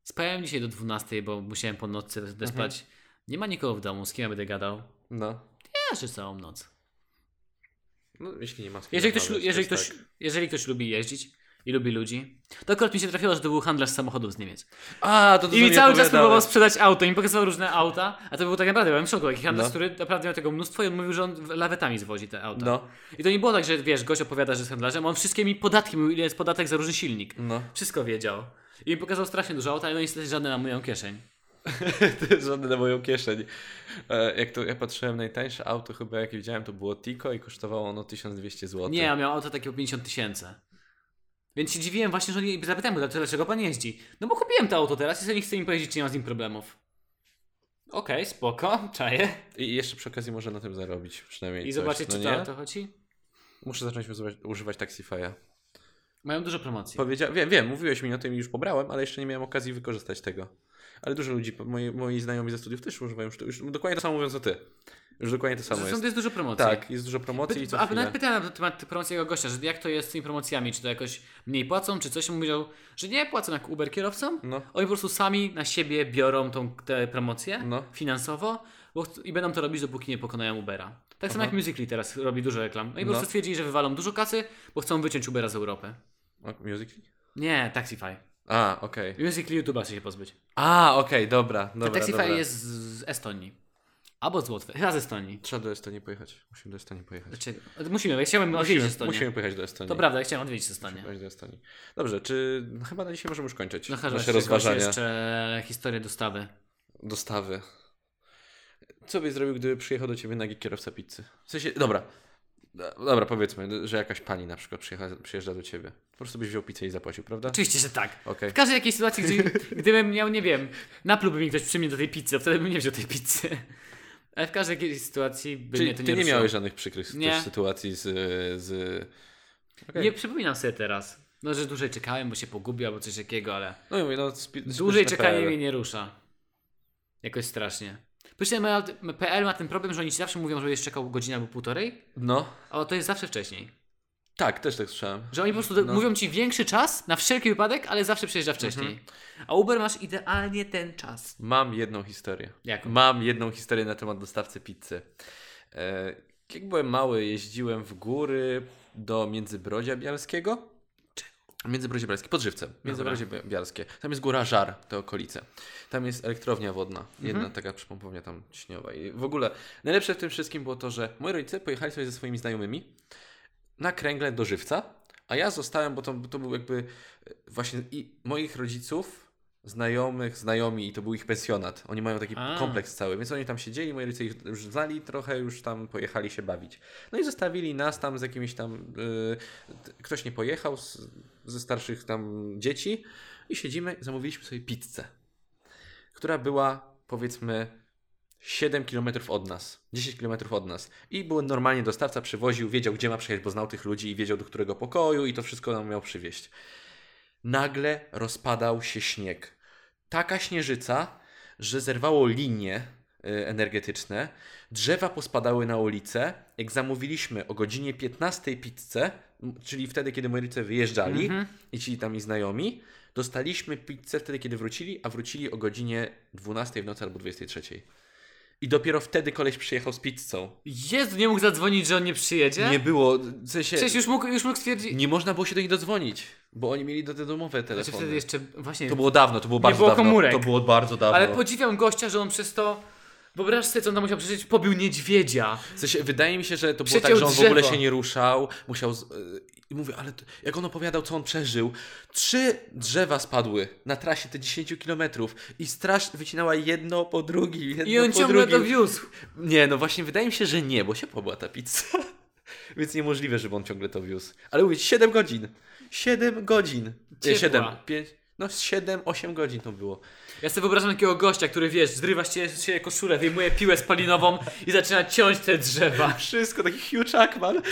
Speaker 1: Spałem dzisiaj do 12, bo musiałem po nocy despać. Nie ma nikogo w domu, z kim ja będę gadał.
Speaker 2: No.
Speaker 1: Ja jeszcze całą noc.
Speaker 2: no, jeśli nie ma z kim
Speaker 1: Jeżeli ktoś, lu-
Speaker 2: rozmawiać,
Speaker 1: jeżeli,
Speaker 2: to
Speaker 1: ktoś,
Speaker 2: jest
Speaker 1: jeżeli ktoś lubi jeździć i lubi ludzi, to akurat mi się trafiło, że to był handlarz samochodów z Niemiec.
Speaker 2: tak. A, to, to
Speaker 1: I mi
Speaker 2: mi
Speaker 1: cały czas
Speaker 2: opowiadałeś.
Speaker 1: próbował sprzedać auto, i mi pokazywał różne auta, a to był tak naprawdę, byłem w szoku, jaki handlarz,
Speaker 2: No.
Speaker 1: który naprawdę miał tego mnóstwo i on mówił, że on w- lawetami zwozi te auta.
Speaker 2: No,
Speaker 1: I to nie było tak, że wiesz, gość opowiada, że jest handlarzem, a on wszystkie mi podatki mówił, ile jest podatek za różny silnik.
Speaker 2: no.
Speaker 1: Wszystko wiedział. I mi pokazał strasznie dużo auta, ale no niestety żadne na moją kieszeń.
Speaker 2: Żadne na moją kieszeń. E, Jak to ja patrzyłem, najtańsze auto chyba jakie widziałem to było Tico i kosztowało ono 1200 zł.
Speaker 1: Nie, a miał auto takie o 50 tysięcy. Więc się dziwiłem właśnie, że oni zapytałem go, dlaczego- dlaczego pan jeździ. No bo kupiłem to auto teraz i sobie nie chcę im powiedzieć, czy nie mam z nim problemów. Okej, spoko, czaję.
Speaker 2: I jeszcze przy okazji może na tym zarobić przynajmniej.
Speaker 1: I
Speaker 2: coś.
Speaker 1: zobaczyć,
Speaker 2: no
Speaker 1: czy
Speaker 2: nie?
Speaker 1: to auto chodzi.
Speaker 2: Muszę zacząć używać, używać Taxify'a.
Speaker 1: Mają dużo promocji.
Speaker 2: Powiedzia... Wiem, wiem, mówiłeś mi o tym i już pobrałem, ale jeszcze nie miałem okazji wykorzystać tego. Ale dużo ludzi, moi, moi znajomi ze studiów też używają już, to- już dokładnie to samo mówią co ty. Już dokładnie to samo
Speaker 1: Zresztą
Speaker 2: jest.
Speaker 1: to jest dużo promocji.
Speaker 2: Tak, jest dużo promocji i co
Speaker 1: A nawet
Speaker 2: chwilę.
Speaker 1: pytałem na temat promocji jego gościa, że jak to jest z tymi promocjami, czy to jakoś mniej płacą, czy coś. On Mówił, że nie płacą jak Uber kierowcom.
Speaker 2: No,
Speaker 1: Oni po prostu sami na siebie biorą tą, te promocje
Speaker 2: No.
Speaker 1: finansowo bo, ch- i będą to robić, dopóki nie pokonają Ubera. Tak samo jak
Speaker 2: Aha.
Speaker 1: Musical.ly teraz robi dużo reklam. Oni po
Speaker 2: No.
Speaker 1: prostu stwierdzili, że wywalą dużo kasy, bo chcą wyciąć Ubera z Europy.
Speaker 2: O, Musical.ly?
Speaker 1: Nie, Taxify.
Speaker 2: A, okej.
Speaker 1: Musical.ly YouTube'a chce się pozbyć.
Speaker 2: A, okej, dobra,
Speaker 1: A
Speaker 2: dobra,
Speaker 1: Taxify
Speaker 2: dobra.
Speaker 1: jest z z Estonii. Albo z Łotwy. Chyba z Estonii.
Speaker 2: Trzeba do Estonii pojechać. Musimy do Estonii pojechać.
Speaker 1: Dlaczego? Musimy, bo ja chciałem odwiedzić
Speaker 2: Musimy,
Speaker 1: No, Estonię.
Speaker 2: musimy pojechać do Estonii.
Speaker 1: To prawda, ja chciałem odwiedzić Estonię.
Speaker 2: Pojechać do Estonii. Dobrze, czy no, chyba na dzisiaj możemy już kończyć
Speaker 1: No chyba,
Speaker 2: nasze
Speaker 1: jeszcze,
Speaker 2: rozważania
Speaker 1: jeszcze historię dostawy.
Speaker 2: dostawy. Co byś zrobił, gdyby przyjechał do ciebie nagi kierowca pizzy? W sensie, dobra. D- Dobra, powiedzmy, że jakaś pani na przykład przyjecha, przyjeżdża do ciebie. Po prostu byś wziął pizzę i zapłacił, prawda?
Speaker 1: Oczywiście, że tak.
Speaker 2: Okej.
Speaker 1: W każdej jakiej sytuacji, gdzie, gdybym miał, nie wiem, naplułby mi ktoś przy mnie do tej pizzy, to wtedy bym nie wziął tej pizzy. Ale w każdej jakiej sytuacji by
Speaker 2: Czyli
Speaker 1: mnie to
Speaker 2: ty
Speaker 1: nie
Speaker 2: nie
Speaker 1: ruszyło.
Speaker 2: miałeś żadnych przykrych
Speaker 1: Nie.
Speaker 2: Też sytuacji z... z... Okej.
Speaker 1: Nie przypominam sobie teraz. No, że dłużej czekałem, bo się pogubił albo coś takiego, ale
Speaker 2: No i mówię, no... Spi-
Speaker 1: dłużej
Speaker 2: spi-
Speaker 1: czekanie
Speaker 2: PRL.
Speaker 1: mnie nie rusza. Jakoś strasznie. Myślę, że PL ma ten problem, że oni ci zawsze mówią, że czekał godzinę albo półtorej,
Speaker 2: No.
Speaker 1: a to jest zawsze wcześniej.
Speaker 2: Tak, też tak słyszałem.
Speaker 1: Że oni po prostu
Speaker 2: No.
Speaker 1: mówią ci większy czas na wszelki wypadek, ale zawsze przyjeżdża wcześniej.
Speaker 2: Mhm.
Speaker 1: A Uber masz idealnie ten czas.
Speaker 2: Mam jedną historię.
Speaker 1: Jaką?
Speaker 2: Mam jedną historię na temat dostawcy pizzy. E, Jak byłem mały, jeździłem w góry do Międzybrodzia Bialskiego. Międzybrodzie Bialskie, pod żywcem. Międzybrodzie Bia- Bialskie. Tam jest góra Żar, te okolice. Tam jest elektrownia wodna, jedna taka przypompownia tam ciśniowa. I w ogóle najlepsze w tym wszystkim było to, że moi rodzice pojechali sobie ze swoimi znajomymi na kręgle do żywca, a ja zostałem, bo to, bo to był jakby e, właśnie i moich rodziców znajomych, znajomi i to był ich pensjonat. Oni mają taki
Speaker 1: A.
Speaker 2: kompleks cały, więc oni tam siedzieli, moi rodzice ich już znali, trochę już tam pojechali się bawić. No i zostawili nas tam z jakimiś tam, y, t- ktoś nie pojechał z, ze starszych tam dzieci i siedzimy, zamówiliśmy sobie pizzę, która była powiedzmy 7 km od nas, 10 km od nas. I był normalnie dostawca, przywoził, wiedział gdzie ma przyjechać, bo znał tych ludzi i wiedział do którego pokoju i to wszystko nam miał przywieźć. Nagle rozpadał się śnieg. Taka śnieżyca, że zerwało linie y, energetyczne, drzewa pospadały na ulicę. Jak zamówiliśmy o godzinie 15 pizzę, m, czyli wtedy, kiedy moi rodzice wyjeżdżali
Speaker 1: Mhm.
Speaker 2: i ci tam i znajomi, dostaliśmy pizzę wtedy, kiedy wrócili, a wrócili o godzinie 12 w nocy albo 23. I dopiero wtedy koleś przyjechał z pizzą.
Speaker 1: Jezu, nie mógł zadzwonić, że on nie przyjedzie?
Speaker 2: Nie było, w sensie,
Speaker 1: Przecież już mógł, już mógł stwierdzić...
Speaker 2: nie można było się do nich dodzwonić, bo oni mieli do te domowe telefony.
Speaker 1: Znaczy wtedy jeszcze... Właśnie...
Speaker 2: To było dawno, to było bardzo
Speaker 1: było
Speaker 2: dawno.
Speaker 1: komórek.
Speaker 2: To było bardzo dawno.
Speaker 1: Ale podziwiam gościa, że on przez to... Wyobraź sobie, co on tam musiał przeżyć. Pobił niedźwiedzia.
Speaker 2: W sensie, wydaje mi się, że to było
Speaker 1: Przeciął
Speaker 2: tak, że on w ogóle
Speaker 1: drzewo.
Speaker 2: się nie ruszał, musiał. Z... yy, I mówię, ale to, jak on opowiadał, co on przeżył. Trzy drzewa spadły na trasie te 10 kilometrów i straż wycinała jedno po drugim. Jedno
Speaker 1: I on
Speaker 2: No po
Speaker 1: ciągle
Speaker 2: drugim.
Speaker 1: to wiózł.
Speaker 2: Nie, no właśnie, wydaje mi się, że nie, bo się pobła ta pizza. Więc niemożliwe, żeby on ciągle to wiózł. Ale mówię, 7 godzin. 7 godzin. Nie,
Speaker 1: Ciepła.
Speaker 2: 7, 5, no 7, 8 godzin to było.
Speaker 1: Ja sobie wyobrażam takiego gościa, który wiesz, zrywa się, się koszulę, wyjmuje piłę spalinową i zaczyna ciąć te drzewa.
Speaker 2: Wszystko, taki Hugh Jackman.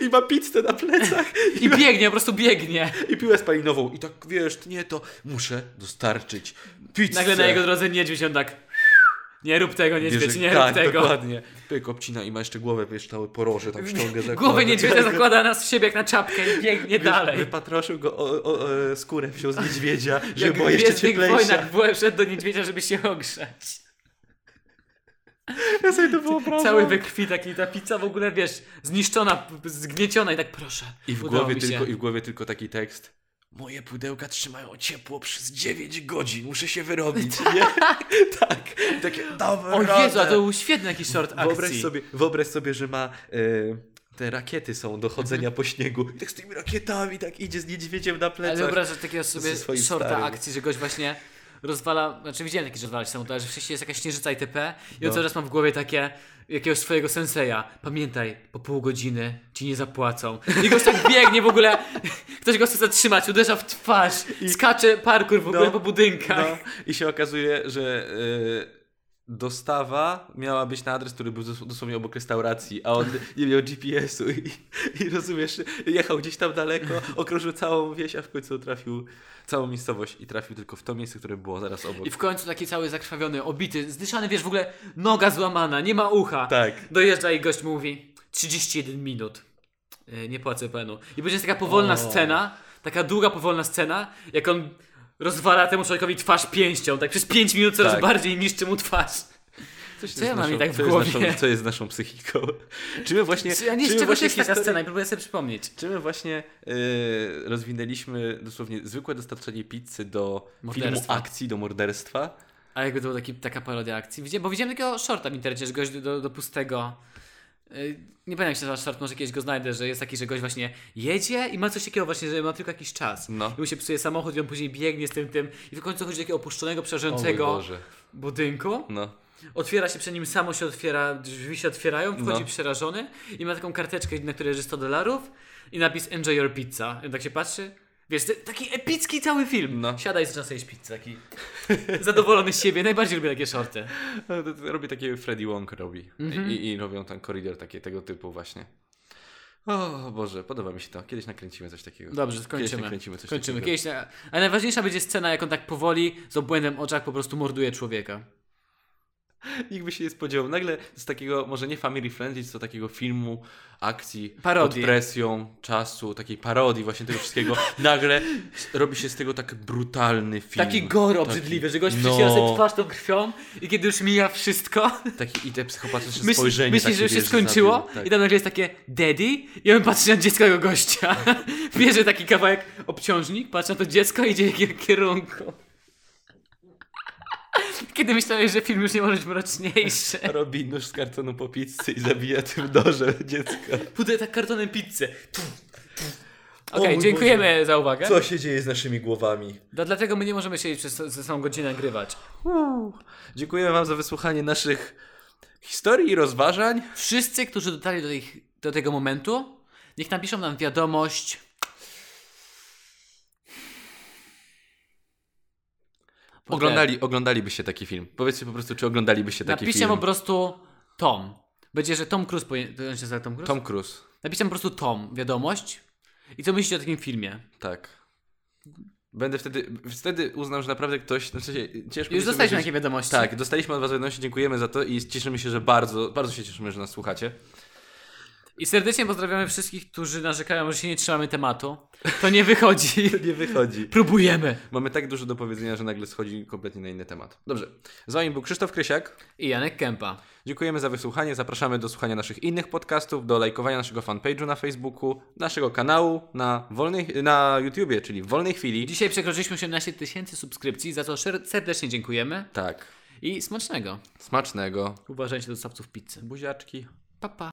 Speaker 2: I ma pizzę na plecach.
Speaker 1: I biegnie, po prostu biegnie.
Speaker 2: I piłę spalinową. I tak, wiesz, nie, to muszę dostarczyć pizzę.
Speaker 1: Nagle na jego drodze niedźwiedź, on tak... Nie rób tego, niedźwiedź,
Speaker 2: Bierze-
Speaker 1: nie
Speaker 2: tak,
Speaker 1: rób tego.
Speaker 2: dokładnie. Pyk obcina i ma jeszcze głowę, wiesz, cały poroże tam ściąga. zakłada.
Speaker 1: Głowę niedźwiedzia zakłada nas w siebie jak na czapkę i biegnie
Speaker 2: Wiesz,
Speaker 1: dalej.
Speaker 2: Wypatroszył go o, o, o, skórę, wziął z niedźwiedzia, żeby
Speaker 1: Jak
Speaker 2: była
Speaker 1: w
Speaker 2: jeszcze
Speaker 1: Gwiezdnych
Speaker 2: cieplejsza.
Speaker 1: Wojnach byłem wszedł do niedźwiedzia, żeby się ogrzać.
Speaker 2: Ja sobie to wyobrażam.
Speaker 1: Cały we krwi taki, ta pizza w ogóle, wiesz, zniszczona, p- zgnieciona i tak proszę.
Speaker 2: I w,
Speaker 1: udało
Speaker 2: głowie
Speaker 1: mi się.
Speaker 2: tylko, I w głowie tylko taki tekst. Moje pudełka trzymają ciepło przez 9 godzin, muszę się wyrobić. Nie? tak. I Takie, dawaj
Speaker 1: O
Speaker 2: radę.
Speaker 1: Jezu, a to był świetny jakiś short akcji.
Speaker 2: Wyobraź sobie, wyobraź sobie, że ma e, te rakiety są do chodzenia po śniegu. I tak z tymi rakietami tak idzie z niedźwiedziem na
Speaker 1: Mhm. Ale
Speaker 2: plecach.
Speaker 1: wyobrażasz takiego sobie
Speaker 2: Ze swoim
Speaker 1: shorta
Speaker 2: starym.
Speaker 1: akcji, że gość właśnie rozwala, znaczy widziałem takie, że rozwala się samochód, ale że wcześniej jest jakaś śnieżyca itp. I on
Speaker 2: No.
Speaker 1: cały czas mam w głowie takie jakiegoś swojego senseja. Pamiętaj, po pół godziny ci nie zapłacą. I gość tak biegnie w ogóle, ktoś go chce zatrzymać, uderza w twarz, skacze parkour w ogóle
Speaker 2: No.
Speaker 1: po budynkach.
Speaker 2: No, I się okazuje, że e, dostawa miała być na adres, który był dos- dosłownie obok restauracji, a on nie miał GPS-u i, i rozumiesz, jechał gdzieś tam daleko, okrążył całą wieś, a w końcu trafił całą miejscowość i trafił tylko w to miejsce, które było zaraz obok.
Speaker 1: I w końcu taki cały zakrwawiony, obity, zdyszany, wiesz, w ogóle noga złamana, nie ma ucha.
Speaker 2: Tak.
Speaker 1: Dojeżdża i gość mówi 31 minut. Yy, Nie płacę penu. I będzie taka powolna
Speaker 2: O.
Speaker 1: scena, taka długa, powolna scena, jak on rozwala temu człowiekowi twarz pięścią, tak przez 5 minut coraz
Speaker 2: Tak.
Speaker 1: bardziej niszczy mu twarz.
Speaker 2: Coś
Speaker 1: Co ja
Speaker 2: jest
Speaker 1: mam i tak w
Speaker 2: co jest
Speaker 1: głowie?
Speaker 2: naszą- Co jest naszą psychiką? Czy my właśnie...
Speaker 1: Ja nie
Speaker 2: czy
Speaker 1: z
Speaker 2: my
Speaker 1: czegoś
Speaker 2: właśnie
Speaker 1: jest taka
Speaker 2: historii-
Speaker 1: scena i próbuję sobie przypomnieć.
Speaker 2: Czy my właśnie yy, rozwinęliśmy dosłownie zwykłe dostarczenie pizzy do filmu
Speaker 1: Morderstwa.
Speaker 2: akcji, do morderstwa?
Speaker 1: A jakby to była taki, taka parodia akcji. Widziałem, bo widziałem takiego shorta w internecie, że gość do, do, do pustego... yy, Nie pamiętam jak się nazywa short, może kiedyś go znajdę, że jest taki, że gość właśnie jedzie i ma coś takiego właśnie, że ma tylko jakiś czas.
Speaker 2: No.
Speaker 1: I mu się psuje samochód i on później biegnie z tym, tym i w końcu chodzi do takiego opuszczonego,
Speaker 2: O mój
Speaker 1: przerażającego
Speaker 2: Boże.
Speaker 1: budynku.
Speaker 2: No.
Speaker 1: Otwiera się przed nim, samo się otwiera, drzwi się otwierają, wchodzi
Speaker 2: No.
Speaker 1: przerażony i ma taką karteczkę, na której leży 100 dolarów i napis Enjoy your pizza. I on tak się patrzy. Wiesz, te- taki epicki cały film.
Speaker 2: No.
Speaker 1: Siada i zaczyna sobie jeść pizzę. Taki zadowolony z siebie. Najbardziej lubię takie shorty.
Speaker 2: No, to- to Robi takie Freddy Wong robi.
Speaker 1: Mhm.
Speaker 2: I, I robią ten koridor takie, tego typu właśnie. O Boże, podoba mi się to. Kiedyś nakręcimy coś takiego.
Speaker 1: Dobrze,
Speaker 2: Kiedyś
Speaker 1: kończymy.
Speaker 2: nakręcimy coś
Speaker 1: kończymy.
Speaker 2: takiego.
Speaker 1: Kiedyś, na- ale najważniejsza będzie scena, jak on tak powoli, z obłędem w oczach po prostu morduje człowieka.
Speaker 2: Nikt by się nie spodziewał. Nagle z takiego, może nie family friendly, co takiego filmu, akcji,
Speaker 1: Parodii.
Speaker 2: pod presją czasu, takiej parodii właśnie tego wszystkiego, nagle s- robi się z tego tak brutalny film.
Speaker 1: Taki gor
Speaker 2: Taki-
Speaker 1: obrzydliwy, że gość
Speaker 2: no.
Speaker 1: przyciera sobie twarz tą krwią i kiedy już mija wszystko,
Speaker 2: Taki i te psychopatyczne
Speaker 1: myśli,
Speaker 2: spojrzenie.
Speaker 1: myśli
Speaker 2: takie,
Speaker 1: że już się
Speaker 2: wiesz,
Speaker 1: skończyło
Speaker 2: zabił. Tak.
Speaker 1: i tam nagle jest takie daddy i on patrzy na dziecko tego gościa. Bierze taki kawałek obciążnik, patrzy na to dziecko i idzie w jego kierunku. Kiedy myślałeś, że film już nie może być mroczniejszy.
Speaker 2: Robi nóż z kartonu po pizzy i zabija tym nożem dziecka.
Speaker 1: Pudę tak kartonem pizzę. Okej,
Speaker 2: mój
Speaker 1: dziękujemy za uwagę.
Speaker 2: Co się dzieje z naszymi głowami?
Speaker 1: No, dlatego my nie możemy siedzieć przez ze całą godzinę nagrywać.
Speaker 2: Uuu. Dziękujemy Wam za wysłuchanie naszych historii i rozważań.
Speaker 1: Wszyscy, którzy dotarli do, tych, do tego momentu, niech napiszą nam wiadomość.
Speaker 2: Oglądali, oglądaliby się taki film. Powiedzcie po prostu, czy oglądalibyście taki
Speaker 1: Napiszcie
Speaker 2: film.
Speaker 1: po prostu Tom. Będzie, że Tom Cruise powinien... To on się nazywa Tom Cruise?
Speaker 2: Tom Cruise.
Speaker 1: Napiszcie po prostu Tom wiadomość. I co myślicie o takim filmie?
Speaker 2: Tak. Będę wtedy, wtedy uznał, że naprawdę ktoś, znaczy się- ciężko mi
Speaker 1: Już
Speaker 2: to
Speaker 1: dostaliśmy
Speaker 2: powiedzieć.
Speaker 1: takie wiadomości.
Speaker 2: Tak, dostaliśmy od Was wiadomości, dziękujemy za to i cieszymy się, że bardzo, bardzo się cieszymy, że nas słuchacie.
Speaker 1: I serdecznie pozdrawiamy wszystkich, którzy narzekają, że się nie trzymamy tematu. To nie wychodzi.
Speaker 2: Nie wychodzi.
Speaker 1: Próbujemy.
Speaker 2: Mamy tak dużo do powiedzenia, że nagle schodzi kompletnie na inny temat. Dobrze. Z Wami był Krzysztof Krysiak.
Speaker 1: I Janek Kępa.
Speaker 2: Dziękujemy za wysłuchanie. Zapraszamy do słuchania naszych innych podcastów, do lajkowania naszego fanpage'u na Facebooku, naszego kanału na wolnej, na YouTubie, czyli w wolnej chwili.
Speaker 1: Dzisiaj przekroczyliśmy 18 tysięcy subskrypcji, za co szer- serdecznie dziękujemy.
Speaker 2: Tak.
Speaker 1: I smacznego.
Speaker 2: Smacznego.
Speaker 1: Uważajcie do dostawców pizzy.
Speaker 2: Buziaczki.
Speaker 1: Pa, pa.